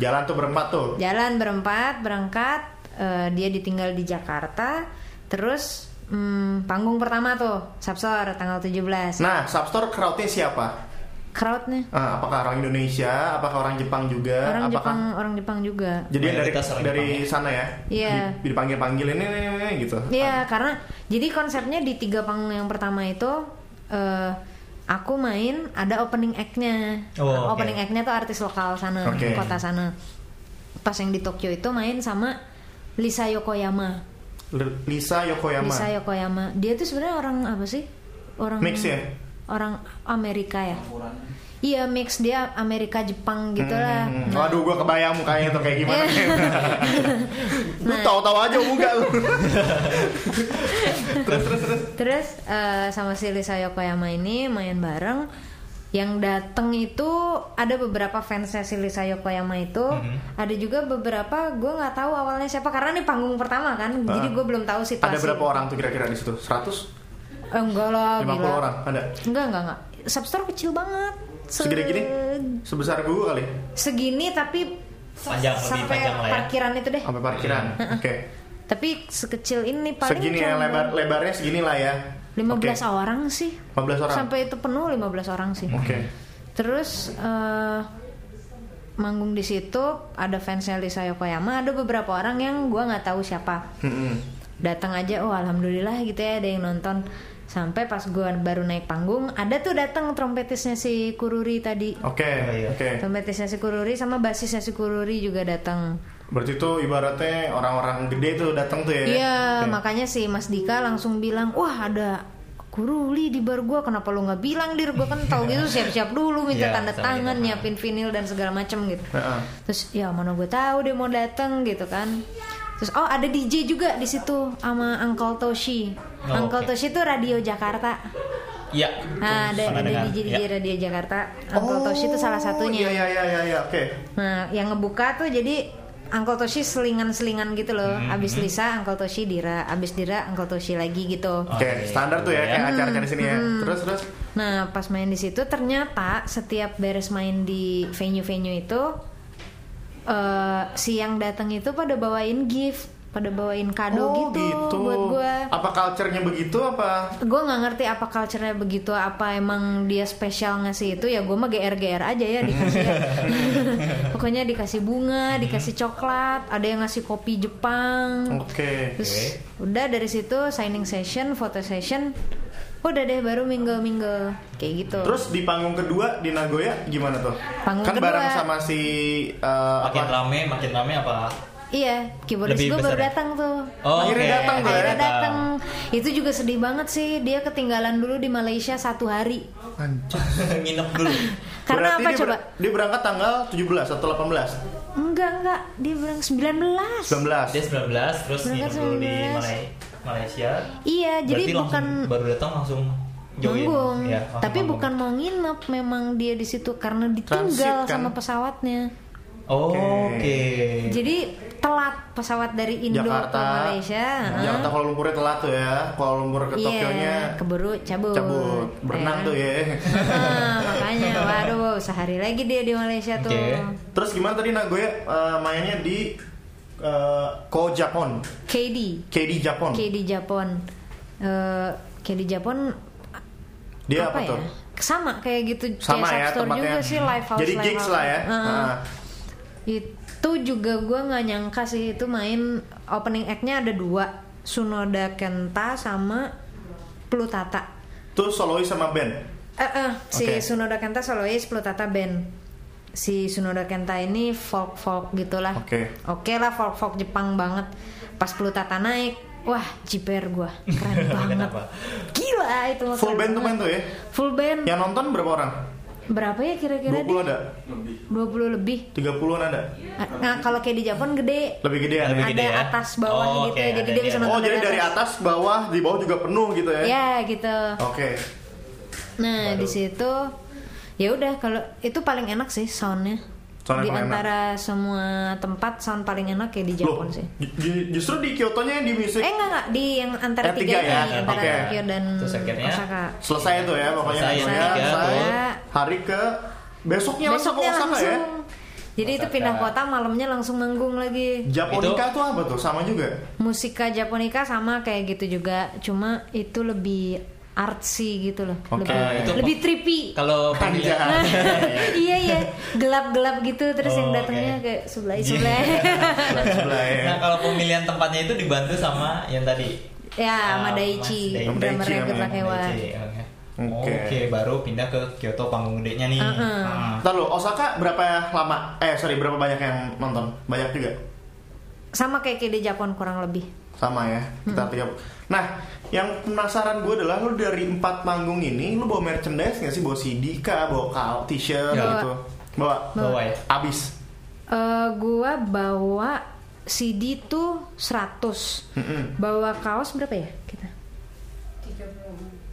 Speaker 3: Jalan tuh berempat tuh.
Speaker 1: jalan berempat berangkat eh, dia ditinggal di Jakarta terus hmm, panggung pertama tuh Sabsor tanggal 17
Speaker 3: Nah, Substore crowdnya siapa?
Speaker 1: crowdnya
Speaker 3: Ah, apakah orang Indonesia? Apakah orang Jepang juga?
Speaker 1: orang
Speaker 3: Ya, apakah
Speaker 1: Jepang orang Jepang juga
Speaker 3: jadi dari
Speaker 4: Mayoritas orang
Speaker 3: dari
Speaker 4: Jepang ya?
Speaker 3: sana ya?
Speaker 1: Iya.
Speaker 3: Di- Dipanggil panggil ini, ini, ini, ini, gitu.
Speaker 1: Iya, karena jadi konsepnya di tiga panggung yang pertama itu eh aku main ada opening act-nya.
Speaker 4: Oh, oke.
Speaker 1: Opening act-nya tuh artis lokal sana,
Speaker 3: Oke.
Speaker 1: kota sana. Pas yang di Tokyo itu main sama Lisa Yokoyama.
Speaker 3: L- Lisa Yokoyama.
Speaker 1: Lisa Yokoyama. Dia tuh sebenarnya orang apa sih? Orang
Speaker 3: Mix ya?
Speaker 1: Orang Amerika ya. Iya, mix dia Amerika Jepang gitu lah.
Speaker 3: Hmm.
Speaker 1: Nah, Iya.
Speaker 3: Waduh, gue kebayang mukanya tuh kayak
Speaker 1: <laughs>
Speaker 3: gimana. Lu tahu-tahu aja muka lu. terus terus terus.
Speaker 1: Terus eh, sama si Lisa Yokoyama ini main bareng yang dateng itu ada beberapa fansnya si Lisa Yokoyama itu
Speaker 3: Hmm.
Speaker 1: ada juga beberapa gue nggak tahu awalnya siapa karena ini panggung pertama kan jadi gue belum tahu situasi
Speaker 3: Ah. Ada berapa orang tuh kira-kira di situ? 100?
Speaker 1: Eh, enggak lah
Speaker 3: 50
Speaker 1: gila.
Speaker 3: orang? Ada?
Speaker 1: enggak enggak enggak substore kecil banget Se-
Speaker 3: Segede gini? Sebesar gue kali? ya?
Speaker 1: Eh. segini tapi
Speaker 4: Panjang, lebih
Speaker 1: sampai
Speaker 4: panjang lah ya.
Speaker 1: parkiran itu deh
Speaker 3: Sampai parkiran? Oke.
Speaker 1: tapi sekecil ini paling
Speaker 3: Segini ya,
Speaker 1: cuma
Speaker 3: lebar, lebarnya segini lah ya.
Speaker 1: 15
Speaker 3: Oke.
Speaker 1: orang sih
Speaker 3: 15 orang?
Speaker 1: sampai itu penuh 15 orang sih
Speaker 3: Oke.
Speaker 1: Terus eh, manggung di situ ada fansnya Lisa Yokoyama, ada beberapa orang yang gua nggak tahu siapa.
Speaker 3: Mm-mm.
Speaker 1: Datang aja, oh alhamdulillah gitu ya ada yang nonton. Sampai pas gua baru naik panggung, ada tuh datang trompetisnya si Kururi tadi.
Speaker 3: Oke,
Speaker 4: Oh, iya.
Speaker 3: oke.
Speaker 1: Trompetisnya si Kururi sama basisnya si Kururi juga datang.
Speaker 3: Berarti tuh ibaratnya orang-orang gede tuh datang tuh ya?
Speaker 1: Iya,
Speaker 3: Oke.
Speaker 1: makanya si Mas Dika langsung bilang, wah ada kuruli di bar gua, kenapa lu nggak bilang dir gua kan tahu
Speaker 4: <laughs>
Speaker 1: gitu siap-siap dulu minta
Speaker 4: Iya,
Speaker 1: tanda
Speaker 4: sama
Speaker 1: tangan,
Speaker 4: gitu. Nah.
Speaker 1: nyiapin vinil dan segala macem gitu.
Speaker 3: Heeh.
Speaker 1: Terus ya mana gue tahu dia mau datang gitu kan. Terus oh ada DJ juga di situ sama Uncle Toshi.
Speaker 4: Oh,
Speaker 1: Uncle
Speaker 4: oke.
Speaker 1: Toshi itu Radio Jakarta.
Speaker 4: Iya.
Speaker 1: Nah, ada,
Speaker 4: Pernah
Speaker 1: ada
Speaker 4: dengar.
Speaker 1: DJ
Speaker 4: Iya. Oh,
Speaker 1: DJ Radio Jakarta. Uncle Toshi itu salah satunya.
Speaker 3: Iya, iya, iya, iya, iya. oke.
Speaker 1: Nah, yang ngebuka tuh jadi Uncle Toshi selingan-selingan gitu loh. Abis Lisa, Uncle Toshi Dira, abis Dira, Uncle Toshi lagi gitu.
Speaker 4: Oh,
Speaker 3: Oke,
Speaker 4: iya,
Speaker 3: standar tuh ya, kayak acara-acara di sini ya.
Speaker 1: Hmm.
Speaker 3: Terus, terus.
Speaker 1: Nah, pas main di situ ternyata setiap beres main di venue-venue itu eh si yang datang itu pada bawain gift. pada bawain kado
Speaker 3: Oh,
Speaker 1: gitu, buat gue
Speaker 3: Apa culture-nya begitu apa?
Speaker 1: gue nggak ngerti apa culture-nya begitu apa emang dia spesial ngasih itu ya gue mah gr gr aja ya dikasih ya. pokoknya dikasih bunga dikasih coklat ada yang ngasih kopi Jepang
Speaker 3: Oke.
Speaker 1: terus udah dari situ signing session foto session udah deh baru minggu minggu kayak gitu
Speaker 3: Terus di panggung kedua di Nagoya gimana tuh?
Speaker 1: Panggung
Speaker 3: kan
Speaker 1: kedua.
Speaker 3: bareng sama si eh,
Speaker 4: Makin
Speaker 3: apa?
Speaker 4: rame, makin rame apa? <laughs>
Speaker 1: iya keyboardis
Speaker 4: Lebih
Speaker 1: gue baru
Speaker 4: besar ya?
Speaker 1: datang tuh
Speaker 3: Akhirnya
Speaker 4: oke.
Speaker 3: datang, Bro, ya?
Speaker 1: akhirnya datang itu juga sedih banget sih dia ketinggalan dulu di Malaysia satu hari
Speaker 3: Anjir.
Speaker 4: Nginep dulu.
Speaker 1: karena
Speaker 3: Berarti
Speaker 1: apa
Speaker 3: dia
Speaker 1: coba
Speaker 3: ber- dia berangkat tanggal 17 atau 18?
Speaker 1: enggak enggak dia bilang 19
Speaker 3: 19.
Speaker 4: Dia 19,
Speaker 1: Berangkat
Speaker 4: terus nginep dulu di
Speaker 1: 19.
Speaker 4: Malai- Malaysia.
Speaker 1: Iya, jadi
Speaker 4: Berarti
Speaker 1: bukan
Speaker 4: langsung baru datang langsung join.
Speaker 1: manggung,
Speaker 4: Ya, langsung
Speaker 1: tapi
Speaker 4: manggung.
Speaker 1: bukan mau nginep, memang dia di situ karena ditinggal
Speaker 3: Transit, kan?
Speaker 1: sama pesawatnya.
Speaker 4: Oh, Oke.
Speaker 3: Oke.
Speaker 4: Iya.
Speaker 1: Jadi telat pesawat dari Indo
Speaker 3: Jakarta. Nah,
Speaker 1: ke Malaysia. heeh.
Speaker 3: Jakarta Kuala Lumpurnya telat tuh ya. Kuala Lumpur ke
Speaker 1: Iya,
Speaker 3: Tokyo-nya
Speaker 1: keburu cabut.
Speaker 3: cabut. Berenang
Speaker 1: Ya.
Speaker 3: tuh ya. <laughs>
Speaker 1: Ah, makanya, waduh, sehari lagi dia di Malaysia tuh.
Speaker 4: Oke.
Speaker 3: Terus gimana tadi Nagoya eh, mainnya di eh, Ko Japon,
Speaker 1: KD,
Speaker 3: KD Japon.
Speaker 1: KD Japon, Eh, KD Japon
Speaker 3: Dia apa, tuh?
Speaker 1: ya? Sama kayak gitu
Speaker 3: Sama
Speaker 1: kayak
Speaker 3: ya
Speaker 1: Substore
Speaker 3: tempatnya.
Speaker 1: juga sih live house
Speaker 3: Jadi
Speaker 1: live
Speaker 3: gigs
Speaker 1: house.
Speaker 3: lah ya.
Speaker 1: Heeh.
Speaker 3: Nah,
Speaker 1: itu juga gue nggak nyangka sih itu main opening act-nya ada dua Sunoda Kenta sama Plutata
Speaker 3: Tuh solois sama band.
Speaker 1: eh eh, si
Speaker 3: Oke.
Speaker 1: Sunoda Kenta solois Plutata band si Sunoda Kenta ini folk folk gitulah
Speaker 3: Oke.
Speaker 1: oke lah folk folk Jepang banget pas Plutata naik wah jiper gue keren
Speaker 3: <laughs>
Speaker 1: banget
Speaker 4: Kenapa?
Speaker 1: gila itu mah
Speaker 3: Full
Speaker 1: keren
Speaker 3: band tuh main
Speaker 1: banget.
Speaker 3: tuh ya.
Speaker 1: full band
Speaker 3: Yang nonton berapa orang?
Speaker 1: berapa ya kira-kira
Speaker 3: 20 ada?
Speaker 1: 20 lebih
Speaker 3: 30-an ada?
Speaker 1: nah kalau kayak di Jepang gede
Speaker 3: Lebih gede ya?
Speaker 4: Lebih
Speaker 1: ada
Speaker 4: gede ya?
Speaker 1: atas bawah
Speaker 4: Oh,
Speaker 1: gitu
Speaker 4: oke,
Speaker 1: jadi
Speaker 4: ada
Speaker 1: dia
Speaker 4: di
Speaker 1: bisa
Speaker 4: atas.
Speaker 1: nonton
Speaker 3: Oh, jadi dari atas, bawah, di bawah juga penuh gitu ya.
Speaker 1: ya gitu
Speaker 3: Oke.
Speaker 1: nah
Speaker 4: Baru.
Speaker 1: di situ ya udah kalau itu paling enak sih soundnya
Speaker 3: Sound yang
Speaker 1: di
Speaker 3: paling
Speaker 1: antara semua tempat sound paling enak ya di
Speaker 3: Loh,
Speaker 1: Jepang sih
Speaker 3: ju- ju- justru di Kyoto-nya di musik
Speaker 1: eh enggak enggak di yang antara
Speaker 3: Yang
Speaker 1: tiga,
Speaker 3: tiga ya,
Speaker 1: ini antara
Speaker 3: oke.
Speaker 1: Tokyo dan
Speaker 4: Terus akhirnya?
Speaker 1: Osaka
Speaker 3: selesai tuh ya pokoknya
Speaker 4: Selesai,
Speaker 3: Nagoya,
Speaker 1: yang tiga
Speaker 3: selesai.
Speaker 1: tuh.
Speaker 3: hari ke besoknya,
Speaker 1: Iya. besoknya
Speaker 3: langsung ke Osaka
Speaker 1: langsung
Speaker 3: ya.
Speaker 1: jadi itu
Speaker 4: Osaka.
Speaker 1: pindah kota malamnya langsung manggung lagi
Speaker 3: Japonica tuh apa tuh? Sama juga.
Speaker 1: musika Japonica sama kayak gitu juga cuma itu lebih artsy gitu loh
Speaker 3: Oke.
Speaker 1: lebih,
Speaker 4: Eh, itu-
Speaker 1: lebih trippy
Speaker 4: Kalau
Speaker 3: Kanja.
Speaker 4: pemilihan-
Speaker 1: iya iya gelap-gelap gitu terus
Speaker 4: Oh,
Speaker 1: yang datangnya
Speaker 4: oke. Iya.
Speaker 1: kayak sebelah sebelah
Speaker 4: <laughs>
Speaker 3: Sebelah ya.
Speaker 4: Nah, kalau pemilihan tempatnya itu dibantu sama yang tadi
Speaker 1: ya sama
Speaker 4: Ah,
Speaker 1: Daichi
Speaker 4: Mas Daichi.
Speaker 1: drummer yang
Speaker 3: Daichi namanya,
Speaker 1: gebrak hewan
Speaker 4: Oke.
Speaker 3: Oke.
Speaker 4: Oke, baru pindah ke Kyoto panggung gedenya nih.
Speaker 1: Heeh.
Speaker 4: Ah.
Speaker 3: Ntar lu, Osaka berapa lama? Eh sorry berapa banyak yang nonton? Banyak juga.
Speaker 1: sama kayak KD Japon kurang lebih
Speaker 3: Sama ya. Kita
Speaker 1: Hmm.
Speaker 3: tiga. Nah, yang penasaran gue adalah lu dari empat manggung ini, lu bawa merchandise nggak sih? Bawa CD kah? Bawa kal, t-shirt
Speaker 4: Bawa.
Speaker 3: gitu? Bawa.
Speaker 4: Bawa ya?
Speaker 3: Abis.
Speaker 1: Eh gua bawa CD tuh 100
Speaker 3: Mm-mm.
Speaker 1: bawa kaos berapa ya kita
Speaker 3: 30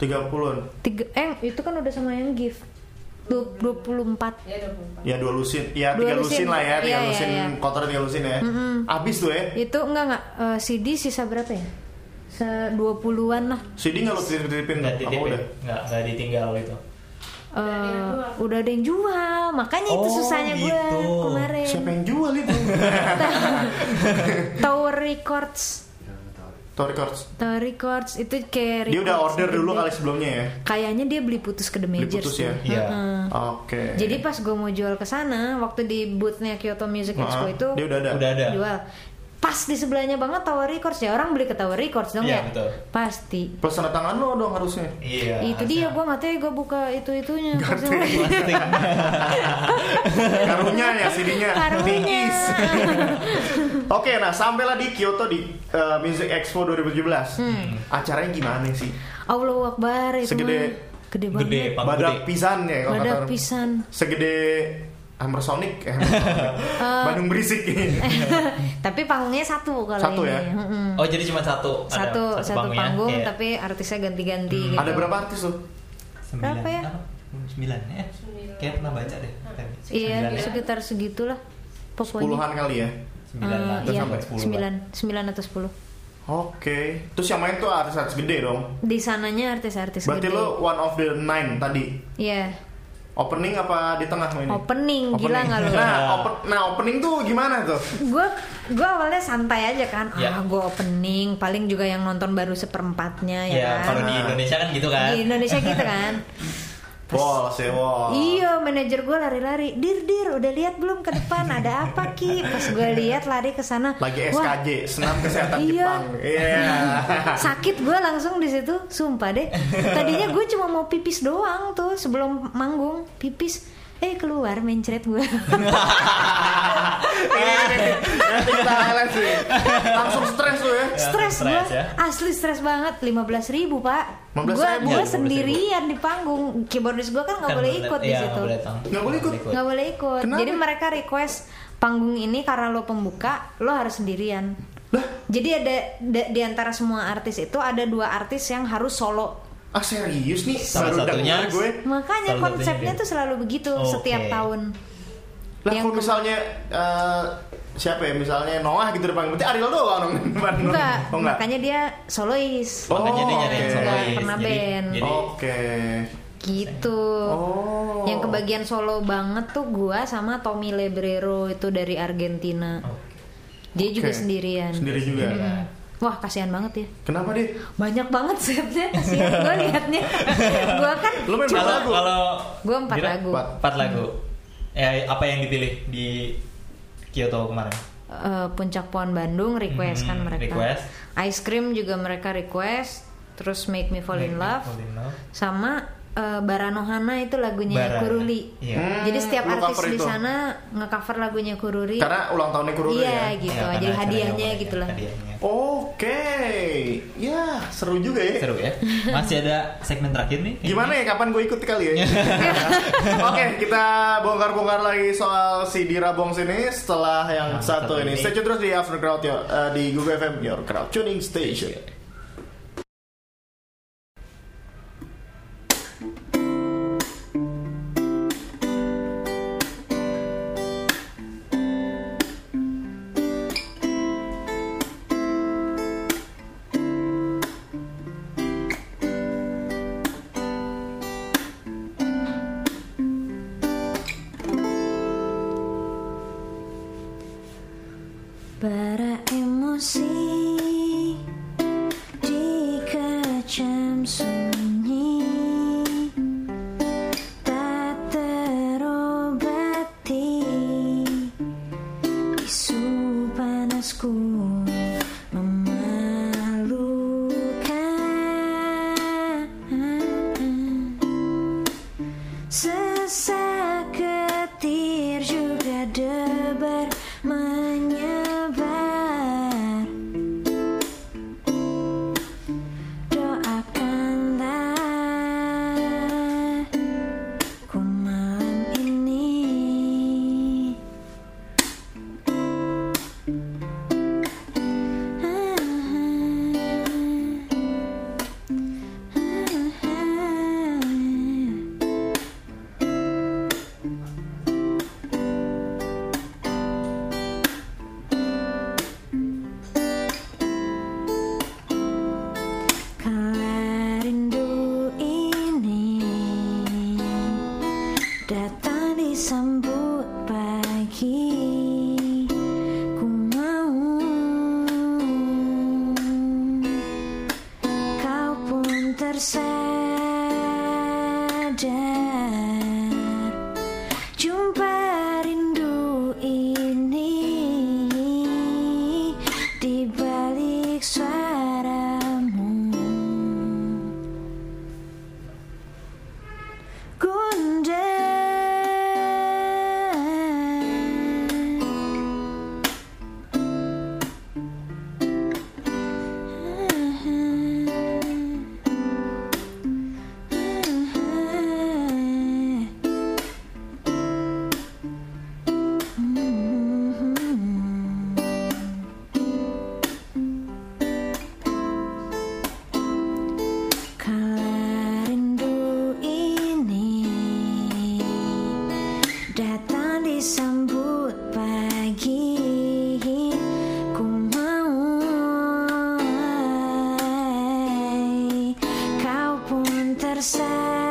Speaker 1: tiga eh itu kan udah sama yang gift Du- 24
Speaker 3: Ya dua lusin, ya
Speaker 1: Dua
Speaker 3: tiga
Speaker 1: lusin.
Speaker 3: lusin, lah ya, tiga
Speaker 1: Iya, iya,
Speaker 3: lusin
Speaker 1: iya. Hmm.
Speaker 3: kotor tiga lusin ya.
Speaker 1: Mm-mm.
Speaker 3: Abis tuh ya.
Speaker 1: itu enggak enggak eh, CD sisa berapa ya se 20-an lah
Speaker 3: CD nggak lu
Speaker 1: Iya.
Speaker 3: titip-titipin?
Speaker 4: Nggak
Speaker 3: Apa
Speaker 4: titip ya?
Speaker 3: udah?
Speaker 4: Nggak, nggak ditinggal gitu.
Speaker 1: Eh, udah ada yang jual makanya itu
Speaker 4: Oh,
Speaker 1: susahnya gue
Speaker 4: gitu.
Speaker 1: kemarin
Speaker 3: Siapa yang jual
Speaker 1: <laughs>
Speaker 3: itu?
Speaker 1: Tower Records
Speaker 3: Tower Records.
Speaker 1: Tower Records itu kayak
Speaker 3: Dia udah
Speaker 1: records
Speaker 3: order dulu
Speaker 1: gede.
Speaker 3: kali sebelumnya ya.
Speaker 1: kayaknya dia beli putus ke The
Speaker 3: Beli
Speaker 1: Majors
Speaker 3: putus ya?
Speaker 1: Heeh.
Speaker 4: Iya.
Speaker 3: Oke.
Speaker 1: Hmm. jadi pas gue mau jual ke sana waktu di boothnya Kyoto Music
Speaker 3: Nah,
Speaker 1: Expo itu
Speaker 3: dia udah ada.
Speaker 4: Udah ada.
Speaker 1: jual pas di sebelahnya banget Tower Records ya orang beli ke Tower Records dong ya
Speaker 4: Iya, betul.
Speaker 1: pasti
Speaker 3: Plus tanda tangan lo dong harusnya.
Speaker 4: Iya.
Speaker 1: itu dia gue nggak tahu gue buka itu itunya
Speaker 4: Plastik.
Speaker 3: Karunya
Speaker 1: <laughs>
Speaker 3: ya CD-nya.
Speaker 1: karunya <laughs>
Speaker 3: Tipis. Oke, nah sampailah di Kyoto di eh, Music Expo 2017.
Speaker 1: Hmm.
Speaker 3: Acaranya gimana sih?
Speaker 1: Allah Akbar itu
Speaker 3: Segede-
Speaker 1: mah. gede banget
Speaker 4: Gede, Pak. Panggung
Speaker 3: Badak
Speaker 4: gede.
Speaker 3: pisan ya kalau
Speaker 1: Badak
Speaker 3: kata-
Speaker 1: pisan.
Speaker 3: Segede Hammer
Speaker 1: <laughs>
Speaker 3: Sonic, <laughs> eh, Hammer Sonic. Bandung berisik.
Speaker 1: tapi panggungnya satu kalau
Speaker 3: Satu
Speaker 1: ini.
Speaker 3: ya?
Speaker 1: Mm-mm.
Speaker 4: Oh, jadi cuma satu. Ada
Speaker 1: Hmm. satu satu
Speaker 4: panggung ya?
Speaker 1: panggung
Speaker 4: Iya. Hmm.
Speaker 1: tapi artisnya ganti-ganti gitu.
Speaker 3: Ada berapa artis tuh?
Speaker 4: Sembilan.
Speaker 1: Berapa ya?
Speaker 4: Apa? Sembilan ya? Kayak pernah baca deh. tadi.
Speaker 1: Iya,
Speaker 4: Sembilan ya?
Speaker 1: sekitar segitulah. Pokoknya
Speaker 3: Puluhan kali ya.
Speaker 4: Sembilan lah.
Speaker 1: Eh, iya,
Speaker 4: Sampai sepuluh.
Speaker 1: sembilan, sembilan atau sepuluh.
Speaker 3: Oke, terus yang main tuh artis-artis gede dong.
Speaker 1: Di sananya artis-artis
Speaker 3: Berarti
Speaker 1: gede.
Speaker 3: lo one of the nine tadi.
Speaker 1: Iya.
Speaker 3: Opening apa di tengah mainnya?
Speaker 1: Opening, gila nggak lu?
Speaker 3: Nah, open- nah opening tuh gimana tuh?
Speaker 1: gue gue awalnya santai aja kan
Speaker 4: Ya.
Speaker 1: ah gue opening paling juga yang nonton baru seperempatnya ya,
Speaker 4: Ya,
Speaker 1: kan
Speaker 4: kalau di Indonesia kan gitu kan.
Speaker 1: di Indonesia gitu
Speaker 3: <laughs>
Speaker 1: kan
Speaker 3: Wall, say wall.
Speaker 1: Iya, manajer gue lari-lari. Dir, dir, udah lihat belum ke depan ada apa ki? Pas gue lihat lari ke sana.
Speaker 3: Lagi
Speaker 1: wah,
Speaker 3: SKJ, senam kesehatan
Speaker 1: Iya.
Speaker 3: Jepang.
Speaker 1: <laughs>
Speaker 3: Iya.
Speaker 1: sakit gue langsung di situ sumpah deh tadinya gue cuma mau pipis doang tuh sebelum manggung pipis eh keluar mencret
Speaker 4: <laughs>
Speaker 1: gue
Speaker 3: Ini, ini, ini. Nanti kita highlight sih. Eh, Langsung stres tuh ya.
Speaker 1: stres gue
Speaker 4: stres ya.
Speaker 1: asli stres banget 15.000 ribu pak
Speaker 3: 15.000.
Speaker 1: gue
Speaker 3: Ya,
Speaker 1: sendirian
Speaker 3: 15.000.
Speaker 1: di panggung keyboardis gue kan nggak
Speaker 4: Kan
Speaker 1: boleh
Speaker 4: boleh-
Speaker 1: ikut di
Speaker 4: iya,
Speaker 1: situ
Speaker 4: nggak boleh tahu.
Speaker 3: Nggak boleh ikut.
Speaker 1: nggak boleh ikut
Speaker 3: Kenapa?
Speaker 1: jadi mereka request panggung ini karena lo pembuka lo harus sendirian jadi ada da- di antara semua artis itu ada dua artis yang harus solo
Speaker 3: Ah serius nih? Baru
Speaker 4: Salah satunya-
Speaker 3: dengar gue.
Speaker 1: Makanya
Speaker 4: Salah
Speaker 1: konsepnya
Speaker 4: satunya dia. Oh,
Speaker 1: tuh selalu begitu
Speaker 4: Oke.
Speaker 1: setiap tahun.
Speaker 3: Lah
Speaker 1: Yang
Speaker 3: kalau misalnya eh, siapa ya misalnya Noah gitu depan berarti Ariel doang dong <laughs> di depan.
Speaker 1: Enggak,
Speaker 3: Oh, enggak.
Speaker 1: makanya dia solois.
Speaker 3: Oh,
Speaker 4: Makanya dia Kan nyari yang
Speaker 3: oke. Oh,
Speaker 4: solois.
Speaker 1: Nggak pernah
Speaker 4: Jadi-
Speaker 1: band.
Speaker 4: jadi-
Speaker 3: Oke.
Speaker 1: Gitu.
Speaker 3: Oh.
Speaker 1: Yang kebagian solo banget tuh gua sama Tommy Lebrero itu dari Argentina. Dia juga
Speaker 3: Oke.
Speaker 1: sendirian.
Speaker 3: Sendiri juga.
Speaker 4: Nah,
Speaker 1: Hmm. Wah, kasihan banget ya.
Speaker 3: Kenapa deh?
Speaker 1: Banyak banget setnya kasihan gua
Speaker 4: <laughs>
Speaker 1: liatnya. gua kan
Speaker 3: Lu main
Speaker 1: cuma-
Speaker 4: Kalau
Speaker 3: lagu?
Speaker 4: kalau
Speaker 1: Gua empat
Speaker 4: Dira,
Speaker 1: lagu. Hmm.
Speaker 4: Empat, empat lagu. Eh apa yang dipilih di Kyoto kemarin?
Speaker 1: eh, Puncak Pohon Bandung request kan
Speaker 4: Hmm,
Speaker 1: mereka.
Speaker 4: request.
Speaker 1: Ice Cream juga mereka request, terus Make Me Fall in Love.
Speaker 4: Iya, Fall in Love.
Speaker 1: sama eh, Baranohana itu lagunya
Speaker 4: Barana.
Speaker 1: Kuruli.
Speaker 4: Iya.
Speaker 3: Hmm,
Speaker 1: Jadi setiap
Speaker 3: lu
Speaker 1: artis
Speaker 3: cover
Speaker 1: di
Speaker 3: itu.
Speaker 1: sana ngecover lagunya Kuruli.
Speaker 3: Karena ulang tahunnya Kuruli
Speaker 1: Iya
Speaker 3: ya.
Speaker 1: gitu.
Speaker 4: Ya, karena
Speaker 1: Jadi
Speaker 4: acaranya
Speaker 1: hadiahnya
Speaker 4: kemarin,
Speaker 1: gitu lah.
Speaker 4: hadiahnya.
Speaker 3: Oke. Ya, seru juga ya.
Speaker 4: Seru ya. Masih ada segmen terakhir nih.
Speaker 3: Gimana ya kapan gue ikut kali ya? <laughs> Oke, kita bongkar-bongkar lagi soal si Dira Bongs ini setelah yang
Speaker 4: Yang
Speaker 3: Nah, satu
Speaker 4: satu
Speaker 3: ini.
Speaker 4: ini.
Speaker 3: Stay tune terus di After Crowd ya, eh, di Google FM Your Crowd Tuning Station.
Speaker 1: Para emosi dikecam sunyi Tak terobati Isu panasku memalukan Sesak getir juga debar menyebar Doakanlah ku malam ini Ah, ah, Kala rindu ini Datang disambut pagi Ku mau Kau pun tersadar Jumpa rindu ini di balik suaramu. <laughs> Gundah. Kala rindu ini datang disambut pagi Ku mau Kau pun tersadar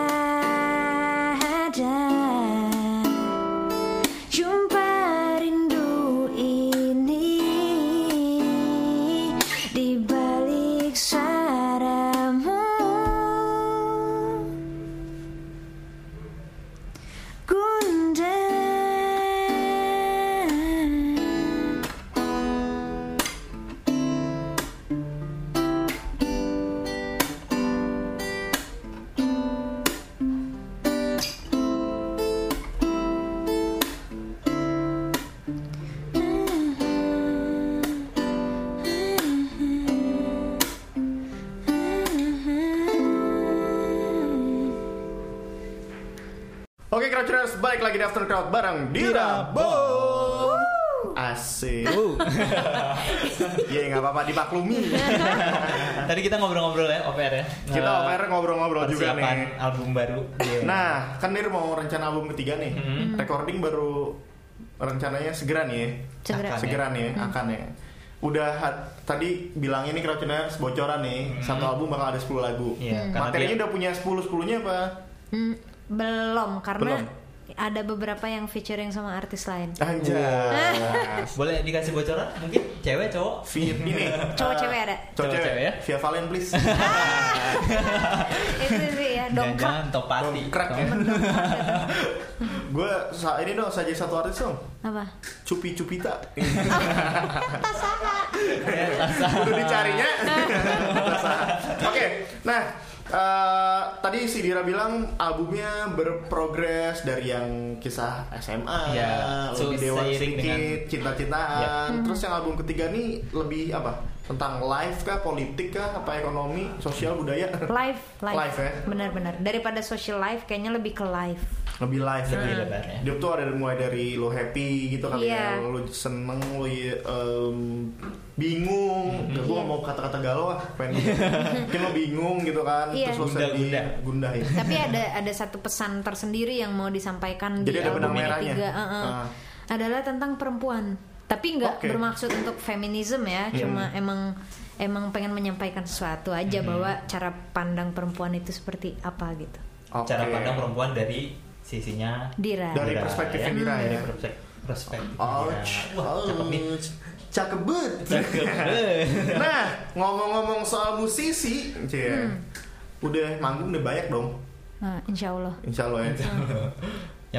Speaker 3: Oke Crowdtuners, balik lagi di After Crowd bareng Dira Bong. Asik. <laughs> Ya nggak apa-apa <laughs> dimaklumi.
Speaker 4: Tadi kita ngobrol-ngobrol ya OPR ya.
Speaker 3: Kita
Speaker 4: Eh,
Speaker 3: OPR ngobrol-ngobrol juga
Speaker 4: persiapan
Speaker 3: nih.
Speaker 4: album baru.
Speaker 3: Nah, kan Dir mau rencana album ketiga nih.
Speaker 1: Hmm.
Speaker 4: Mhm.
Speaker 3: Recording baru rencananya segera nih ya.
Speaker 1: Segera. Hmm.
Speaker 4: Akan.
Speaker 3: Segera nih ya, akan ya. Udah ha- tadi bilangnya nih Crowdtuners bocoran nih, satu album bakal ada 10 lagu.
Speaker 4: Iya, karena
Speaker 3: Materinya
Speaker 4: dia-
Speaker 3: udah punya 10-10-nya apa?
Speaker 1: Hmm, belum karena
Speaker 3: Belum.
Speaker 1: ada beberapa yang featuring sama artis lain.
Speaker 3: Anjas.
Speaker 4: Boleh dikasih bocoran? Mungkin cewek cowok?
Speaker 3: <laughs> Fit ini.
Speaker 1: Cowok cewek ada. Ah.
Speaker 3: Cowok cewek
Speaker 4: Cowok-cewek
Speaker 3: ya.
Speaker 4: ya.
Speaker 3: Via Valen please. <laughs>
Speaker 1: Itu sih ya dongkrak.
Speaker 4: Jangan topati.
Speaker 3: Dongkrak ya. Gue sa- ini dong saja satu artis dong.
Speaker 1: Apa? <laughs>
Speaker 3: Cupi Cupita.
Speaker 1: Tasaha.
Speaker 3: Udah dicarinya. Oke. Nah, eh, tadi si Dira bilang albumnya berprogres dari yang kisah SMA,
Speaker 4: Iya,
Speaker 3: lebih
Speaker 4: so-
Speaker 3: dewa
Speaker 4: seiring
Speaker 3: sedikit,
Speaker 4: dengan-
Speaker 3: cinta-cintaan.
Speaker 4: Iya.
Speaker 3: Terus yang album ketiga nih lebih apa? Tentang life kah, politik kah, apa ekonomi, sosial, budaya?
Speaker 1: Live, live.
Speaker 3: Live, ya?
Speaker 1: Benar-benar. Daripada social life kayaknya lebih ke live.
Speaker 3: lebih live
Speaker 4: Lebih
Speaker 3: ya.
Speaker 4: lebar, ya.
Speaker 3: Dia tuh ada mulai dari lo happy gitu kali
Speaker 1: Iya.
Speaker 3: ya, lo seneng, lo um,
Speaker 1: Mm-hmm.
Speaker 3: bingung. Gue
Speaker 1: Iya.
Speaker 3: nggak mau kata-kata galau ah, pengen
Speaker 1: <laughs>
Speaker 3: mungkin lo bingung gitu kan,
Speaker 1: Iya.
Speaker 3: terus lo
Speaker 4: Gundah,
Speaker 3: sedih,
Speaker 4: gundah.
Speaker 3: gundah ya. <laughs>
Speaker 1: Tapi ada ada satu pesan tersendiri yang mau disampaikan
Speaker 3: Jadi
Speaker 1: di
Speaker 3: ada benang
Speaker 1: album yang
Speaker 3: merahnya.
Speaker 1: ketiga. eh, eh.
Speaker 3: Ah.
Speaker 1: Adalah tentang perempuan. Tapi nggak
Speaker 3: Oke. Iya.
Speaker 1: bermaksud untuk feminisme ya, cuma emang emang pengen menyampaikan sesuatu aja bahwa cara pandang perempuan itu seperti apa gitu.
Speaker 3: Oke.
Speaker 4: Cara pandang perempuan dari sisinya
Speaker 1: Dira.
Speaker 3: Dari perspektif
Speaker 4: ya.
Speaker 3: Dira
Speaker 4: Dari
Speaker 3: ya.
Speaker 4: perspek- perspektif
Speaker 3: Ouch,
Speaker 4: Dira. Iya. Wah, cakep nih.
Speaker 3: ouch. Cakep
Speaker 4: <laughs>
Speaker 3: banget.
Speaker 4: Cakep. Eh.
Speaker 3: Nah, ngomong-ngomong soal musisi, cie.
Speaker 1: Hmm.
Speaker 3: Udah manggung udah banyak dong,
Speaker 1: Nah, insya Allah.
Speaker 3: insya Allah ya.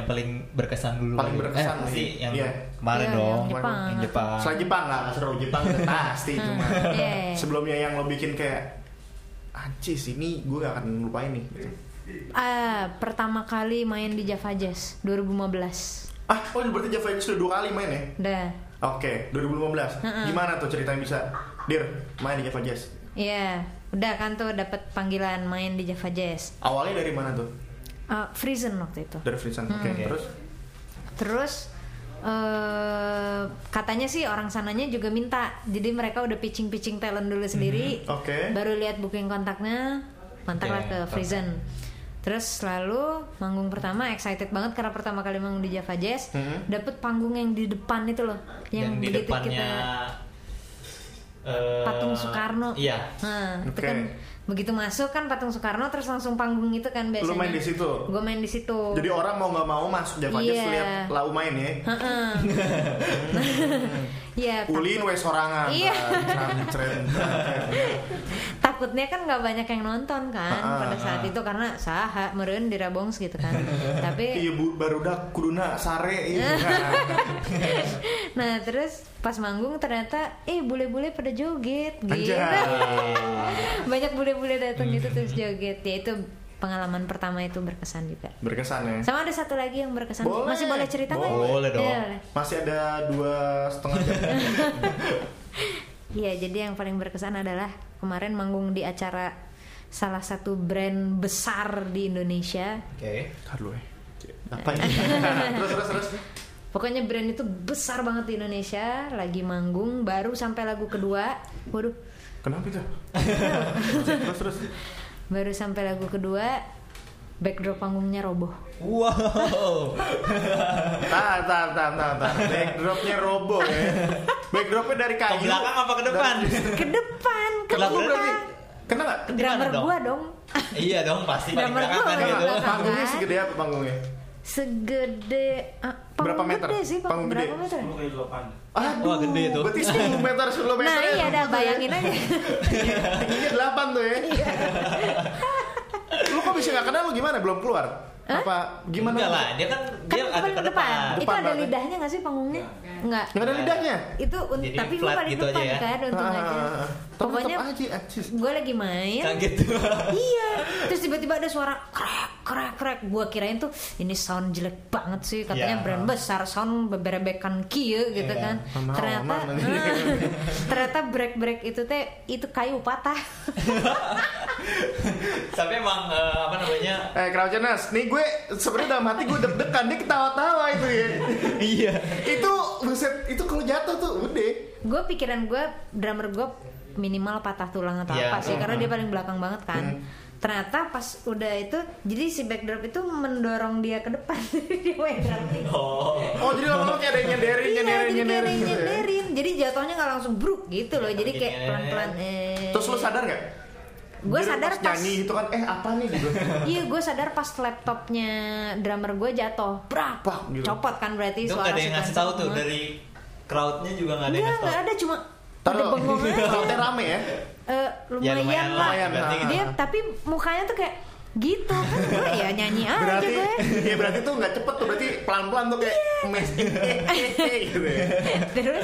Speaker 4: yang paling berkesan dulu
Speaker 3: Paling
Speaker 4: kali.
Speaker 3: berkesan
Speaker 4: eh,
Speaker 3: nih.
Speaker 4: sih yang
Speaker 3: Iya.
Speaker 4: kemarin
Speaker 1: Iya,
Speaker 4: dong
Speaker 1: yang Jepang.
Speaker 4: yang Jepang
Speaker 3: Selain Jepang nggak nggak seru Jepang udah pasti cuma
Speaker 1: <laughs> Iya.
Speaker 3: sebelumnya yang lo bikin kayak anjis ini gue gak akan lupain nih gitu.
Speaker 1: Ah, pertama kali main di Java Jazz 2015.
Speaker 3: ah oh berarti Java Edge udah dua kali main ya
Speaker 1: Dah.
Speaker 3: oke 2015
Speaker 1: Heeh.
Speaker 3: gimana tuh ceritanya bisa dir main di Java Jazz
Speaker 1: Iya, udah kan tuh dapat panggilan main di Java Jazz.
Speaker 3: awalnya dari mana tuh
Speaker 1: Eh, Friesen waktu itu.
Speaker 3: dari Friesen oke
Speaker 4: Hmm.
Speaker 3: terus
Speaker 1: Terus eh katanya sih orang sananya juga minta. Jadi mereka udah pitching-pitching talent dulu sendiri.
Speaker 3: Mhm, oke.
Speaker 1: Baru lihat booking kontaknya, kontaklah
Speaker 4: Oke,
Speaker 1: ke
Speaker 4: kontak.
Speaker 1: Friesen. Terus lalu manggung pertama excited banget karena pertama kali manggung di Java Jazz,
Speaker 3: Mhm.
Speaker 1: dapet panggung yang di depan itu loh,
Speaker 4: yang,
Speaker 1: yang,
Speaker 4: di
Speaker 1: begitu
Speaker 4: depannya
Speaker 1: kita
Speaker 4: eh,
Speaker 1: patung Soekarno.
Speaker 4: iya
Speaker 1: Nah, itu
Speaker 3: Oke.
Speaker 1: kan begitu masuk kan patung Soekarno terus langsung panggung itu kan biasanya.
Speaker 3: lo main di situ
Speaker 1: Gue main di situ.
Speaker 3: jadi orang mau nggak mau masuk Java
Speaker 1: Oh. Iya.
Speaker 3: Jazz lihat lau main
Speaker 1: <laughs>
Speaker 3: ya
Speaker 1: Heeh.
Speaker 3: <laughs>
Speaker 1: Iya.
Speaker 3: ulin
Speaker 1: takut-
Speaker 3: wes sorangan kan?
Speaker 1: Iya.
Speaker 3: Tran, tran, tran, tran.
Speaker 1: Takutnya kan nggak banyak yang nonton kan
Speaker 3: Ah,
Speaker 1: pada
Speaker 3: ah,
Speaker 1: saat itu karena saha meren dirabongs gitu
Speaker 3: <laughs>
Speaker 1: kan. Tapi
Speaker 3: iya bu baru dak kuduna sare
Speaker 1: <laughs>
Speaker 3: iya
Speaker 1: nah terus pas manggung ternyata eh bule-bule pada joget gitu.
Speaker 3: Anjay.
Speaker 1: <laughs> banyak bule-bule datang gitu terus joget. Ya itu pengalaman pertama itu berkesan juga.
Speaker 3: berkesan ya
Speaker 1: Sama ada satu lagi yang berkesan.
Speaker 3: Boleh.
Speaker 1: Masih boleh cerita nggak?
Speaker 4: Boleh dong.
Speaker 1: Iya,
Speaker 3: Masih ada dua setengah <laughs> jam.
Speaker 1: Iya, jadi yang paling berkesan adalah kemarin manggung di acara salah satu brand besar di Indonesia.
Speaker 4: oke
Speaker 3: Ntar dulu ya. Apa <laughs> ini? terus terus terus.
Speaker 1: Pokoknya brand itu besar banget di Indonesia, lagi manggung baru sampai lagu kedua. Waduh,
Speaker 3: Kenapa itu? terus terus.
Speaker 1: baru sampai lagu kedua backdrop panggungnya roboh.
Speaker 4: wow <laughs>
Speaker 3: Tar tar tar tar tar. Backdropnya robo ya. Backdropnya dari
Speaker 4: ke
Speaker 3: kayu.
Speaker 4: belakang apa ke depan
Speaker 1: Ke depan, ke
Speaker 4: Lagu
Speaker 3: Lagu
Speaker 1: kita.
Speaker 3: berarti. Kena nggak?
Speaker 4: Ke depan
Speaker 1: Drummer
Speaker 4: dong.
Speaker 1: gua dong.
Speaker 4: iya dong pasti paling
Speaker 1: Gambar
Speaker 4: belakang kan
Speaker 1: gua.
Speaker 4: gitu
Speaker 1: Belakang.
Speaker 3: Panggungnya segede apa panggungnya?
Speaker 1: Segede ah,
Speaker 3: Berapa
Speaker 1: panggung
Speaker 3: meter?
Speaker 1: gede sih, panggung
Speaker 3: Panggung
Speaker 1: berapa
Speaker 3: gede.
Speaker 1: meter?
Speaker 4: Wah, gede tuh.
Speaker 3: Berarti 10 meter 10 meter.
Speaker 1: Nah, iya dah
Speaker 3: <laughs>
Speaker 1: bayangin Iya. aja.
Speaker 3: Tingginya 8 tuh ya. lu kok bisa nggak kenal lu gimana? Belum keluar? Apa gimana?
Speaker 4: enggak lah dia kan
Speaker 1: kan
Speaker 4: <laughs>
Speaker 1: paling Iya.
Speaker 4: dia ada ke depan
Speaker 1: Itu
Speaker 3: Depan
Speaker 1: ada
Speaker 3: banget.
Speaker 1: lidahnya nggak sih panggungnya? Enggak.
Speaker 3: Nggak ada lidahnya.
Speaker 1: Itu un-
Speaker 4: Jadi
Speaker 1: tapi gue
Speaker 4: flat
Speaker 1: paling
Speaker 4: gitu aja
Speaker 1: depan
Speaker 4: ya.
Speaker 1: kan untung aja.
Speaker 3: Ah, tetep
Speaker 1: Pokoknya
Speaker 3: aja, Eh, anjis.
Speaker 1: gue lagi main.
Speaker 4: kaget
Speaker 1: Iya. Terus tiba-tiba ada suara krek krek krek. Gue kirain tuh ini sound jelek banget sih katanya
Speaker 4: Iya.
Speaker 1: brand besar sound beberebekan kieu gitu
Speaker 4: Iya.
Speaker 1: kan.
Speaker 3: Aman,
Speaker 1: ternyata <laughs>
Speaker 3: aman.
Speaker 1: Ah, ternyata break break itu teh itu kayu patah.
Speaker 4: <laughs> tapi emang eh, apa namanya
Speaker 3: Eh Crouchenas, nih gue sebenarnya dalam hati gue deg-degan dia ketawa-tawa itu ya.
Speaker 4: iya
Speaker 3: itu buset, itu kalau jatuh tuh udah.
Speaker 1: gue pikiran gue drummer gue minimal patah tulang atau
Speaker 4: Iya,
Speaker 1: apa sih karena
Speaker 4: uh-huh.
Speaker 1: dia paling belakang banget kan ternyata pas udah itu jadi si backdrop itu mendorong dia ke depan <laughs> dia main drum thing.
Speaker 4: oh
Speaker 3: Oh jadi lama-lama kayak ada yang nyenderin,
Speaker 1: Iya,
Speaker 3: nyenderin,
Speaker 1: jadi kayak ada
Speaker 3: nyenderin.
Speaker 1: yang
Speaker 3: gitu ya.
Speaker 1: nyenderin. Jadi jatuhnya nggak langsung bruk gitu loh. Jadi kayak
Speaker 4: Gini.
Speaker 1: pelan-pelan. Eh.
Speaker 3: Terus lu sadar gak?
Speaker 1: Gue sadar pas.
Speaker 3: nyanyi itu kan, eh apa nih gitu.
Speaker 1: Iya, gue sadar pas laptopnya drummer gue jatuh. Brak.
Speaker 3: Pak, gitu.
Speaker 1: Copot kan berarti
Speaker 4: itu
Speaker 1: suara
Speaker 4: nggak ada yang
Speaker 1: si
Speaker 4: ngasih
Speaker 1: Guns
Speaker 4: tahu tuh
Speaker 1: semua.
Speaker 4: dari crowdnya juga nggak ada yang
Speaker 1: Nggak,
Speaker 4: ngasih
Speaker 1: nggak
Speaker 4: tahu
Speaker 1: ada cuma
Speaker 3: Taruh,
Speaker 1: ada bengong
Speaker 4: <laughs>
Speaker 1: aja.
Speaker 3: crowdnya rame ya.
Speaker 1: Eh,
Speaker 4: Ya,
Speaker 1: lumayan,
Speaker 4: lumayan lah,
Speaker 1: lah.
Speaker 3: lumayan,
Speaker 4: berarti gitu.
Speaker 3: nah.
Speaker 1: Dia tapi mukanya tuh kayak gitu kan gue ya nyanyi aja
Speaker 3: Berarti,
Speaker 1: gue. Iya.
Speaker 3: ya berarti tuh gak cepet tuh, berarti pelan-pelan tuh kayak mes, <laughs> gitu ya.
Speaker 1: Terus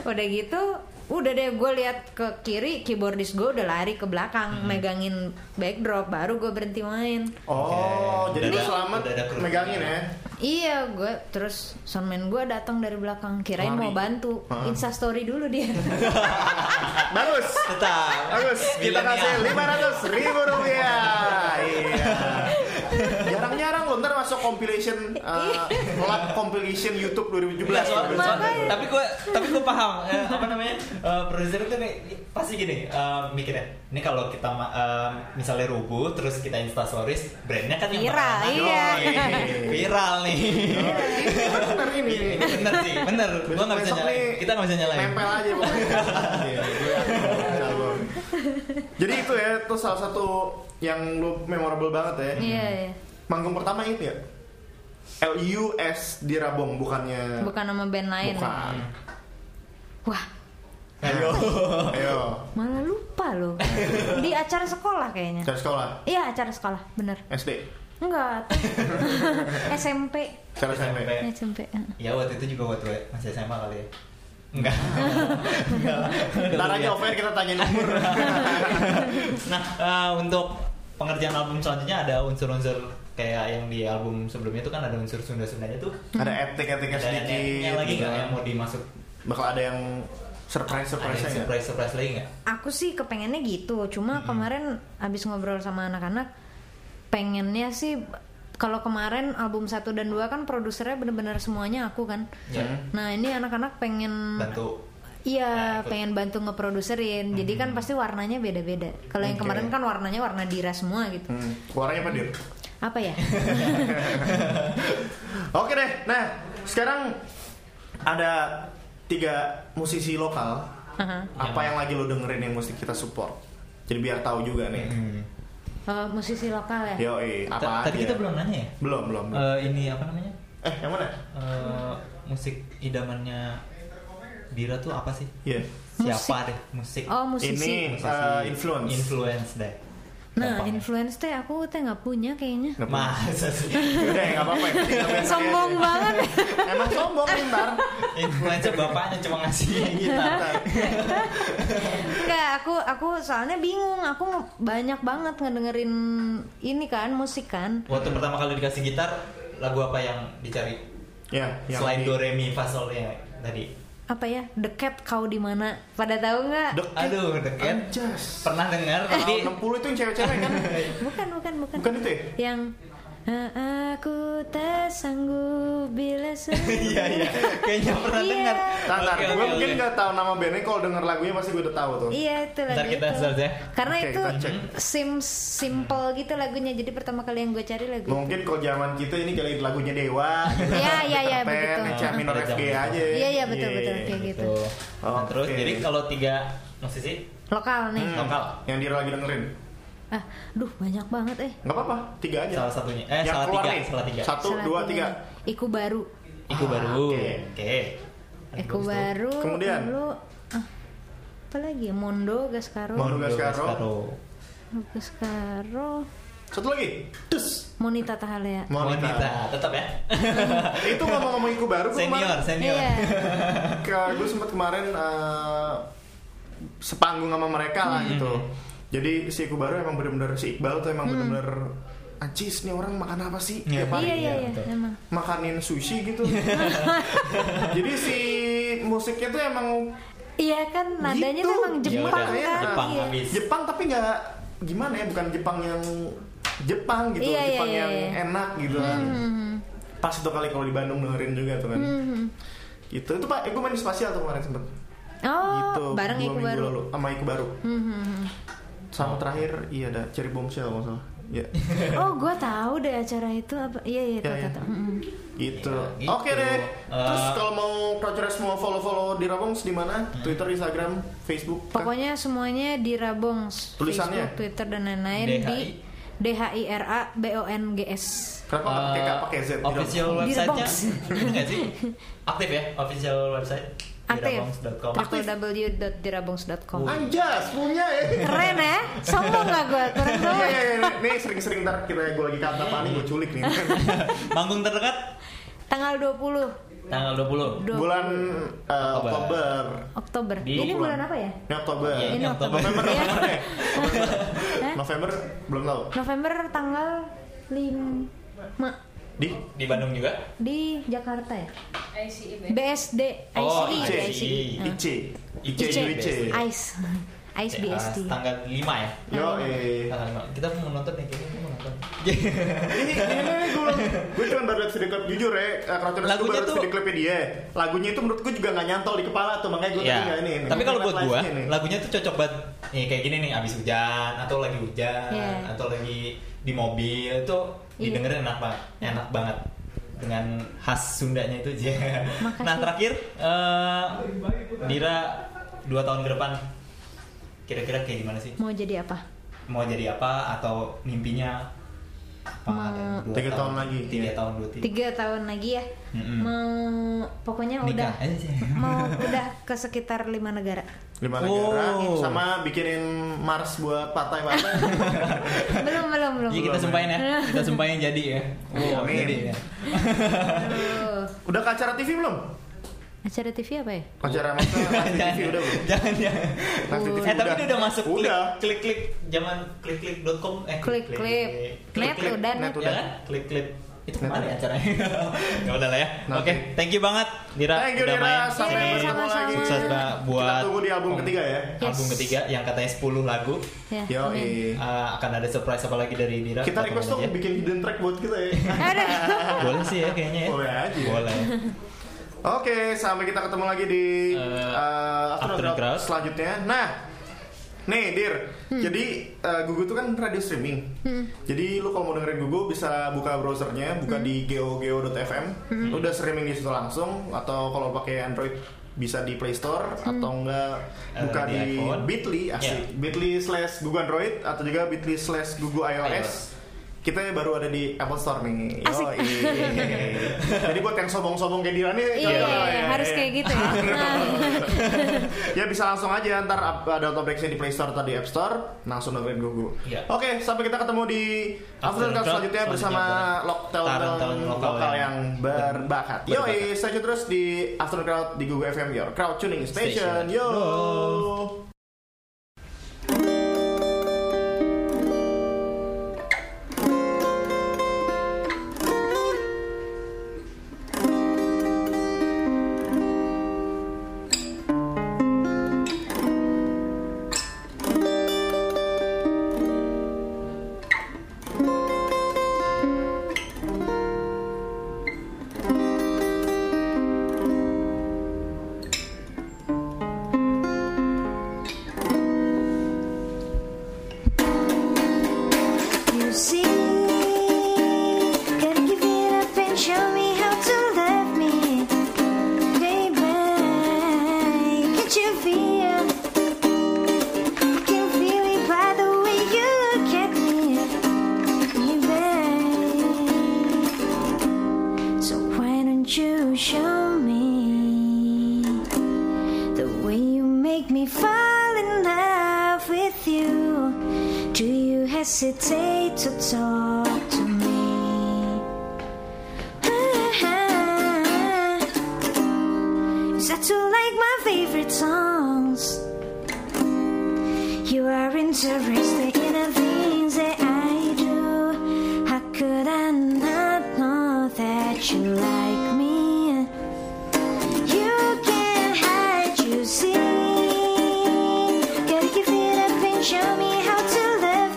Speaker 1: udah gitu udah deh gue lihat ke kiri keyboardis gue udah lari ke
Speaker 3: Hmm.
Speaker 1: belakang megangin backdrop baru gue berhenti main
Speaker 3: Oh, jadi lu
Speaker 4: Udah ada-
Speaker 3: selamat
Speaker 4: udah ada kru.
Speaker 3: megangin ya.
Speaker 1: iya gue terus soundman gue datang dari belakang kirain
Speaker 3: Lari.
Speaker 1: mau bantu
Speaker 3: Hah?
Speaker 1: insta story dulu
Speaker 3: <laughs>
Speaker 1: dia
Speaker 3: Ah, Bagus.
Speaker 4: tetap
Speaker 3: Bagus, kita kasih
Speaker 4: Milenial.
Speaker 3: 500 ribu rupiah.
Speaker 4: <laughs>
Speaker 3: Iya. Jarang-jarang loh, ntar masuk compilation, eh, lab compilation YouTube 2017.
Speaker 4: Iya, soal-
Speaker 3: Bagus.
Speaker 4: soal-
Speaker 1: Makanya.
Speaker 4: tapi gue tapi gue paham eh, apa namanya eh, produser itu nih pasti gini eh, mikirnya ini kalau kita ma- eh, misalnya rubuh terus kita insta stories brandnya kan yang
Speaker 1: Viral,
Speaker 4: pertama.
Speaker 1: iya.
Speaker 4: Yoi, viral nih
Speaker 3: Bener ini.
Speaker 4: Ini bener sih bener gue nggak bisa
Speaker 3: Besok
Speaker 4: nyalain
Speaker 3: nih,
Speaker 4: kita nggak bisa nyalain
Speaker 3: Nempel aja pokoknya. Iya, gue yakin, insya Allah. Jadi itu ya, itu salah satu yang lu memorable banget ya.
Speaker 1: iya iya.
Speaker 3: Manggung pertama itu ya. LUS di Rabong bukannya
Speaker 1: bukan nama band lain
Speaker 3: Bukan.
Speaker 1: wah
Speaker 4: ayo Oh.
Speaker 3: Ayo.
Speaker 1: malah lupa loh di acara sekolah kayaknya
Speaker 3: Cari sekolah.
Speaker 1: iya acara sekolah bener
Speaker 3: SD. <laughs>
Speaker 1: enggak <laughs> tuh. SMP
Speaker 3: Cari SMP.
Speaker 1: SMP eh.
Speaker 4: ya waktu itu juga waktu masih SMA kali ya Enggak. Enggak lah.
Speaker 3: Ntar aja
Speaker 4: Iya.
Speaker 3: off air kita tanyain umur.
Speaker 4: Nah, eh, untuk pengerjaan album selanjutnya ada unsur-unsur kayak yang di album sebelumnya itu kan ada unsur Sunda-Sundanya tuh.
Speaker 3: ada etik-etiknya
Speaker 4: Ada
Speaker 3: sedikit. gitu. kan.
Speaker 4: yang lagi nggak ya? yang mau dimasuk?
Speaker 3: Bakal ada yang
Speaker 4: Ada
Speaker 3: surprise-surprise
Speaker 4: yang
Speaker 3: nya
Speaker 4: surprise-surprise lagi nggak?
Speaker 1: aku sih kepengennya gitu cuma kemarin abis ngobrol sama anak-anak pengennya sih kalau kemarin album 1 dan 2 kan produsernya bener-bener semuanya aku kan
Speaker 4: Ya.
Speaker 1: nah ini anak-anak pengen
Speaker 4: Bantu. Nah,
Speaker 1: Iya,
Speaker 4: ikut.
Speaker 1: pengen bantu ngeproduserin. Jadi kan pasti warnanya beda-beda. Kalau yang kemarin kan warnanya warna dira semua gitu.
Speaker 4: Mm.
Speaker 3: Hmm. Keluarnya apa, Dir?
Speaker 1: Apa
Speaker 4: <laughs>
Speaker 1: ya?
Speaker 3: Oke deh. Nah, sekarang ada tiga musisi lokal.
Speaker 1: Aha.
Speaker 3: Apa yang lagi lo dengerin yang mesti kita support? Jadi biar tahu juga nih.
Speaker 1: Eh, musisi lokal ya.
Speaker 3: Yoi,
Speaker 4: Hmm. Ta-
Speaker 3: Hmm. apa
Speaker 4: Tadi
Speaker 3: aja?
Speaker 4: kita belum nanya ya.
Speaker 3: belum belum. belum.
Speaker 4: Eh, ini apa namanya?
Speaker 3: Eh, yang mana?
Speaker 4: Eh, musik idamannya Dira tuh apa sih?
Speaker 3: Iya.
Speaker 4: Siapa deh musik?
Speaker 1: Oh, musisi.
Speaker 3: Ini eh, influence.
Speaker 4: Influence deh.
Speaker 1: Nah,
Speaker 4: Gampang.
Speaker 1: influence teh aku teh nggak punya kayaknya.
Speaker 3: Nggak punya.
Speaker 4: Masa sih?
Speaker 3: Udah ya, nggak apa-apa.
Speaker 1: <laughs>
Speaker 3: yang
Speaker 4: Iya,
Speaker 3: penting kita biasa
Speaker 1: Sombong
Speaker 3: aja.
Speaker 1: banget.
Speaker 3: Emang sombong nih,
Speaker 4: <laughs>
Speaker 3: ntar.
Speaker 4: Influencer bapaknya cuma
Speaker 3: <laughs>
Speaker 4: ngasih gitar.
Speaker 3: Ntar.
Speaker 1: Enggak, aku aku soalnya bingung. Aku banyak banget ngedengerin ini kan musik kan.
Speaker 4: Waktu pertama kali dikasih gitar, lagu apa yang dicari?
Speaker 3: Ya, yang
Speaker 4: Selain
Speaker 3: di-
Speaker 4: do re mi fa sol ya tadi.
Speaker 1: Apa ya? The Cat kau di mana? Pada tahu nggak?
Speaker 3: Deket.
Speaker 4: Aduh, deket.
Speaker 3: Anjas.
Speaker 4: Pernah dengar
Speaker 3: Tahun
Speaker 4: tapi
Speaker 3: 60 itu yang cewek-cewek
Speaker 1: <laughs>
Speaker 3: kan?
Speaker 1: Bukan, bukan, bukan.
Speaker 3: Bukan itu ya?
Speaker 1: Yang "Ah, aku tak sanggup
Speaker 3: <laughs>
Speaker 1: bila sendiri.
Speaker 4: <laughs> Iya iya, kayaknya pernah
Speaker 1: Iya.
Speaker 4: dengar.
Speaker 3: Ntar, ntar.
Speaker 4: Oke,
Speaker 3: gue
Speaker 4: oke,
Speaker 3: mungkin
Speaker 4: oke.
Speaker 3: nggak tahu nama bandnya. Kalau denger lagunya pasti gue udah tahu tuh.
Speaker 1: Iya itu lagu
Speaker 4: Ntar kita
Speaker 1: itu.
Speaker 4: search ya.
Speaker 1: Karena
Speaker 3: Oke,
Speaker 1: itu
Speaker 3: kita cek.
Speaker 1: sim simple gitu lagunya. Jadi pertama kali yang gue cari lagu. itu.
Speaker 3: Mungkin kalau zaman kita ini kali lagunya Dewa. gitu.
Speaker 1: Iya iya iya
Speaker 3: Pen,
Speaker 1: begitu.
Speaker 3: Echa Minor
Speaker 4: Pada
Speaker 3: FG
Speaker 4: zaman
Speaker 3: aja.
Speaker 4: itu.
Speaker 1: Iya iya betul betul
Speaker 3: Iya.
Speaker 1: kayak gitu.
Speaker 4: Gitu. Nah,
Speaker 3: Oke.
Speaker 4: terus jadi kalau tiga musisi
Speaker 1: Lokal nih.
Speaker 3: Hmm,
Speaker 4: Lokal.
Speaker 3: Yang dia lagi dengerin. Hmm.
Speaker 1: Ah, duh banyak banget eh.
Speaker 3: Nggak apa-apa, tiga aja.
Speaker 4: salah satunya
Speaker 3: yang
Speaker 4: eh salah
Speaker 3: keluar
Speaker 4: tiga,
Speaker 3: nih.
Speaker 4: salah tiga.
Speaker 3: Satu,
Speaker 1: Salah
Speaker 3: dua,
Speaker 1: tiga
Speaker 3: tiga.
Speaker 1: nih. Iku baru.
Speaker 4: Iku
Speaker 3: Ah,
Speaker 4: baru.
Speaker 3: oke.
Speaker 4: Oke.
Speaker 1: Iku
Speaker 4: Habis itu,
Speaker 1: baru.
Speaker 3: Kemudian?
Speaker 1: lalu, ah, apa lagi? ya? Mondo Oh, Gascaro.
Speaker 3: Mondo.
Speaker 4: Mondo
Speaker 3: Gascaro.
Speaker 4: Gascaro.
Speaker 1: Gascaro.
Speaker 3: Satu lagi. Tus.
Speaker 1: Monita ya? Tahalea.
Speaker 4: Monita, tetap ya.
Speaker 3: Itu ngomong-ngomong iku baru gue
Speaker 4: Senior,
Speaker 3: kemarin.
Speaker 4: senior.
Speaker 1: Iya.
Speaker 4: <laughs>
Speaker 3: Ke- gue sempet kemarin eh, sepanggung sama mereka lah
Speaker 4: Hmm,
Speaker 3: gitu. Jadi si iku baru emang bener-bener si Iqbal tuh emang bener-bener anjis nih orang makan apa sih?
Speaker 4: Iya.
Speaker 3: Tiap hari.
Speaker 1: Hmm. Iya iya iya
Speaker 4: betul.
Speaker 1: emang.
Speaker 3: makanin sushi
Speaker 1: <laughs>
Speaker 3: gitu. Jadi si musiknya tuh emang
Speaker 1: Iya kan nadanya
Speaker 3: Gitu.
Speaker 1: tuh emang
Speaker 3: Ya
Speaker 1: Jepang
Speaker 4: udah,
Speaker 1: kan.
Speaker 4: Jepang
Speaker 1: Iya.
Speaker 4: habis.
Speaker 3: Jepang tapi nggak gimana ya bukan Jepang yang Jepang gitu
Speaker 1: Iya, iya,
Speaker 3: Jepang
Speaker 1: iya,
Speaker 3: yang
Speaker 1: iya.
Speaker 3: enak gitu kan
Speaker 1: Hmm.
Speaker 3: pas itu kali kalau di Bandung dengerin juga tuh kan
Speaker 1: Hmm.
Speaker 3: gitu itu pak eh, gue main di spasial tuh kemarin sempet
Speaker 1: Oh,
Speaker 3: gitu
Speaker 1: bareng
Speaker 3: dua
Speaker 1: Iku
Speaker 3: minggu
Speaker 1: baru.
Speaker 3: lalu, sama Iku baru
Speaker 1: Hmm, hmm, hmm.
Speaker 3: sama terakhir iya ada Cherry Bombshell kalau nggak salah
Speaker 1: <laughs>
Speaker 3: ya
Speaker 1: Oh, gue tahu deh acara itu apa. Iya, iya, tahu,
Speaker 3: Iya, iya.
Speaker 1: tahu, tahu. Hmm.
Speaker 3: gitu
Speaker 4: Iya, gitu.
Speaker 3: oke deh terus
Speaker 4: Eh.
Speaker 3: kalau mau Crouchers mau follow follow di Rabongs di mana Twitter Instagram Facebook kah?
Speaker 1: Hmm. Pokoknya semuanya di Rabongs,
Speaker 3: Tulisannya?
Speaker 1: Facebook, Twitter dan lain-lain
Speaker 4: DHI.
Speaker 1: di D H I R A B O N G S.
Speaker 3: kenapa nggak pakai K
Speaker 4: Eh,
Speaker 3: pakai Z di Rabongs?
Speaker 4: official
Speaker 1: Di
Speaker 4: website-nya
Speaker 1: Rabongs.
Speaker 4: ini nggak sih aktif ya official website
Speaker 1: Aktif.
Speaker 4: dirabongs.com
Speaker 1: www.dirabongs.com.
Speaker 3: Anjas punya ya
Speaker 1: Ah, Keren ya? Sombong gak gue? Keren
Speaker 3: Iya,
Speaker 1: banget.
Speaker 3: iya, iya. nih sering-sering ntar kira gue lagi kata panik gue culik nih
Speaker 4: manggung terdekat
Speaker 1: Tanggal 20
Speaker 4: tanggal 20
Speaker 1: 20
Speaker 3: bulan eh,
Speaker 4: Oktober.
Speaker 3: Oktober
Speaker 1: Oktober.
Speaker 4: Di-
Speaker 1: Ini bulan apa ya?
Speaker 3: ini Oktober
Speaker 4: Iya,
Speaker 1: Ini Oktober.
Speaker 3: November
Speaker 1: Iya.
Speaker 3: November ya
Speaker 1: Hah?
Speaker 3: November belum tahu
Speaker 1: November tanggal 5
Speaker 3: di
Speaker 4: di Bandung juga
Speaker 1: di Jakarta ya?
Speaker 2: ICE Band.
Speaker 1: BSD ICE
Speaker 4: Oh,
Speaker 1: ada
Speaker 3: ICE.
Speaker 1: ICE.
Speaker 3: IC
Speaker 1: IC.
Speaker 3: IC IC
Speaker 1: ICE. ICE BSD.
Speaker 4: Eh, tanggal 5 ya
Speaker 3: yo eh
Speaker 4: tanggal 5 kita mau nonton nih kita mau nonton
Speaker 1: <laughs>
Speaker 3: ini ini gue gue cuma baru liat video klip jujur ya eh, Crouchers gue baru
Speaker 4: Lagunya
Speaker 3: liat
Speaker 4: tuh-
Speaker 3: video klipnya dia lagunya itu menurut gue juga nggak nyantol di kepala tuh makanya gue tadi nggak
Speaker 4: Iya.
Speaker 3: ini
Speaker 4: Tapi kalau buat gua,
Speaker 3: Live-nya nih.
Speaker 4: lagunya tuh cocok banget. Nih kayak gini nih abis hujan atau lagi hujan
Speaker 1: Iya.
Speaker 4: atau lagi di mobil itu
Speaker 1: Iya.
Speaker 4: didengerin enak banget. Enak banget dengan khas Sundanya itu aja.
Speaker 1: Makasih.
Speaker 4: Nah, terakhir eh, Dira dua tahun ke depan kira-kira kayak gimana sih?
Speaker 1: Mau jadi apa?
Speaker 4: Mau jadi apa atau mimpinya apa?
Speaker 1: Mau-
Speaker 4: Ada dua
Speaker 3: Tiga tahun lagi,
Speaker 4: Tiga
Speaker 3: iya.
Speaker 4: tahun dua tiga.
Speaker 1: Tiga tahun lagi ya.
Speaker 4: Mm-mm.
Speaker 1: Mau pokoknya
Speaker 4: Nikah
Speaker 1: udah
Speaker 4: aja sih.
Speaker 1: mau udah ke sekitar lima negara.
Speaker 3: lima
Speaker 4: Oh.
Speaker 3: negara sama bikinin Mars buat
Speaker 4: <laughs>
Speaker 3: partai-partai
Speaker 1: Belum belum belum.
Speaker 4: Iya kita sumpahin ya, kita sumpahin jadi
Speaker 3: <laughs>
Speaker 4: ya. Wow,
Speaker 3: Amin.
Speaker 4: jadi ya.
Speaker 1: Aduh.
Speaker 3: udah ke acara TV belum
Speaker 1: Acara TV apa ya?
Speaker 3: acara maksudnya live
Speaker 4: <laughs> jangan,
Speaker 3: TV udah belum
Speaker 4: jangan, jangan.
Speaker 3: Nanti TV
Speaker 4: Eh tapi
Speaker 3: udah.
Speaker 4: ini udah masuk
Speaker 3: Udah.
Speaker 4: klik klik zaman klik klik.com eh
Speaker 1: Klik klip. Net
Speaker 4: Klik-klik.
Speaker 1: udah
Speaker 3: Net
Speaker 1: net.
Speaker 4: Ya kan? Klik klik. Itu
Speaker 3: Net
Speaker 4: kemana ya
Speaker 3: udah.
Speaker 4: acaranya? <laughs> ya udah lah ya.
Speaker 3: Nanti.
Speaker 4: Oke, thank you banget Dira
Speaker 3: Thank you
Speaker 4: udah
Speaker 3: Dira,
Speaker 4: main. Iya,
Speaker 3: sampai
Speaker 1: Yeay,
Speaker 3: bertemu
Speaker 1: Iya, sama-sama.
Speaker 3: lagi.
Speaker 4: Sukses Mbak
Speaker 3: Kita
Speaker 4: buat
Speaker 3: tunggu di album ketiga ya.
Speaker 4: Album
Speaker 1: Yes.
Speaker 4: ketiga yang katanya 10 lagu.
Speaker 1: Ya,
Speaker 3: Yo,
Speaker 1: amin.
Speaker 3: eh.
Speaker 4: Eh, akan ada surprise apa lagi dari Dira?
Speaker 3: Kita request
Speaker 4: tunggu
Speaker 3: dong
Speaker 4: aja. Iya.
Speaker 3: bikin hidden track buat kita
Speaker 4: <laughs>
Speaker 3: ya.
Speaker 1: <laughs> Aduh.
Speaker 4: Boleh sih ya kayaknya ya.
Speaker 3: Boleh aja.
Speaker 4: Boleh.
Speaker 3: Oke, sampai kita ketemu lagi di eh,
Speaker 4: Eh,
Speaker 3: Afternoon
Speaker 4: Afternoon
Speaker 3: Crowd
Speaker 4: Crowd.
Speaker 3: selanjutnya. Nah, nih Dir, jadi eh, Gugu itu kan radio streaming. Jadi lu kalau mau dengerin Gugu bisa buka browsernya, buka di geogeo.fm. Lu udah streaming di situ langsung atau kalau pakai Android bisa di Play Store atau enggak
Speaker 4: Eh,
Speaker 3: buka
Speaker 4: di
Speaker 3: di,
Speaker 4: iPhone. Ya.
Speaker 3: Bitly asli
Speaker 4: Yeah.
Speaker 3: Bitly slash Google Android atau juga Bitly slash Google
Speaker 4: iOS.
Speaker 3: iOS. Kita baru ada di Apple Store nih.
Speaker 1: Asik.
Speaker 4: <laughs>
Speaker 3: Yoi. Jadi buat yang sombong-sombong kayak Dira nih,
Speaker 1: Iya,
Speaker 3: cocok lah
Speaker 1: iya,
Speaker 3: ya.
Speaker 1: harus kayak gitu ya. <laughs>
Speaker 3: ya bisa langsung aja ntar up- ada topiknya di Play Store atau di App Store langsung dengerin Gugu.
Speaker 4: Iya.
Speaker 3: Oke, sampai kita ketemu di
Speaker 4: After
Speaker 3: After Talk
Speaker 4: Talk
Speaker 3: selanjutnya bersama
Speaker 4: selanjutnya.
Speaker 3: Loktel
Speaker 4: Talent-talent lokal
Speaker 3: lokal
Speaker 4: yang
Speaker 3: yang berbakat.
Speaker 4: berbakat.
Speaker 3: Yoi, stay tune terus di After Crowd di Google FM Your Crowd Tuning Station.
Speaker 4: Station.
Speaker 3: Yo.
Speaker 5: Music can give it up and show me how to love me, baby. Can't you feel? I can feel it by the way you look at me, baby. So why don't you show me the way you make me fall in love with you? Do you hesitate to talk to me? Ah, Is that you like my favorite songs? You are interested in the things that I do. How could I not know that you like me? You can't hide, you see. Gotta give it up and show me how to love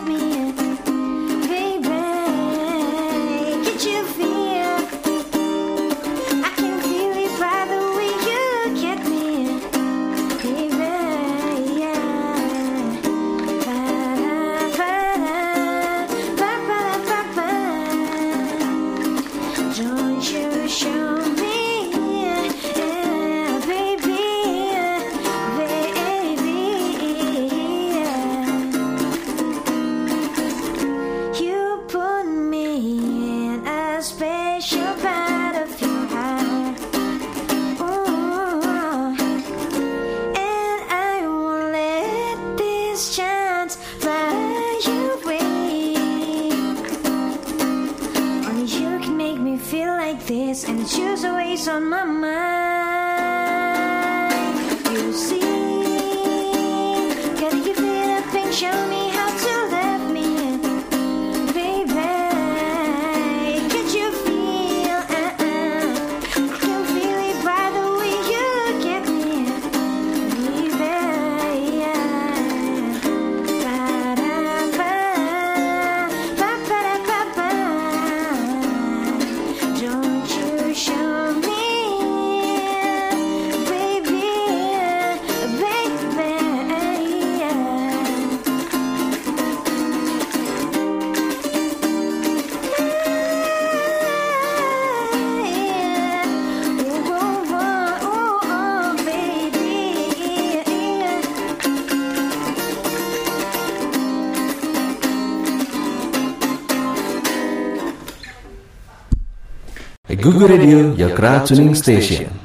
Speaker 1: it's yours always on my mind. You see, gotta give it up and show me how to let me in, baby. Can't you feel? Uh-uh. Can feel it by the way you look at me, baby. Yeah. Don't you show me, baby, baby. Oh, baby.
Speaker 2: Google Radio, your crowd tuning station.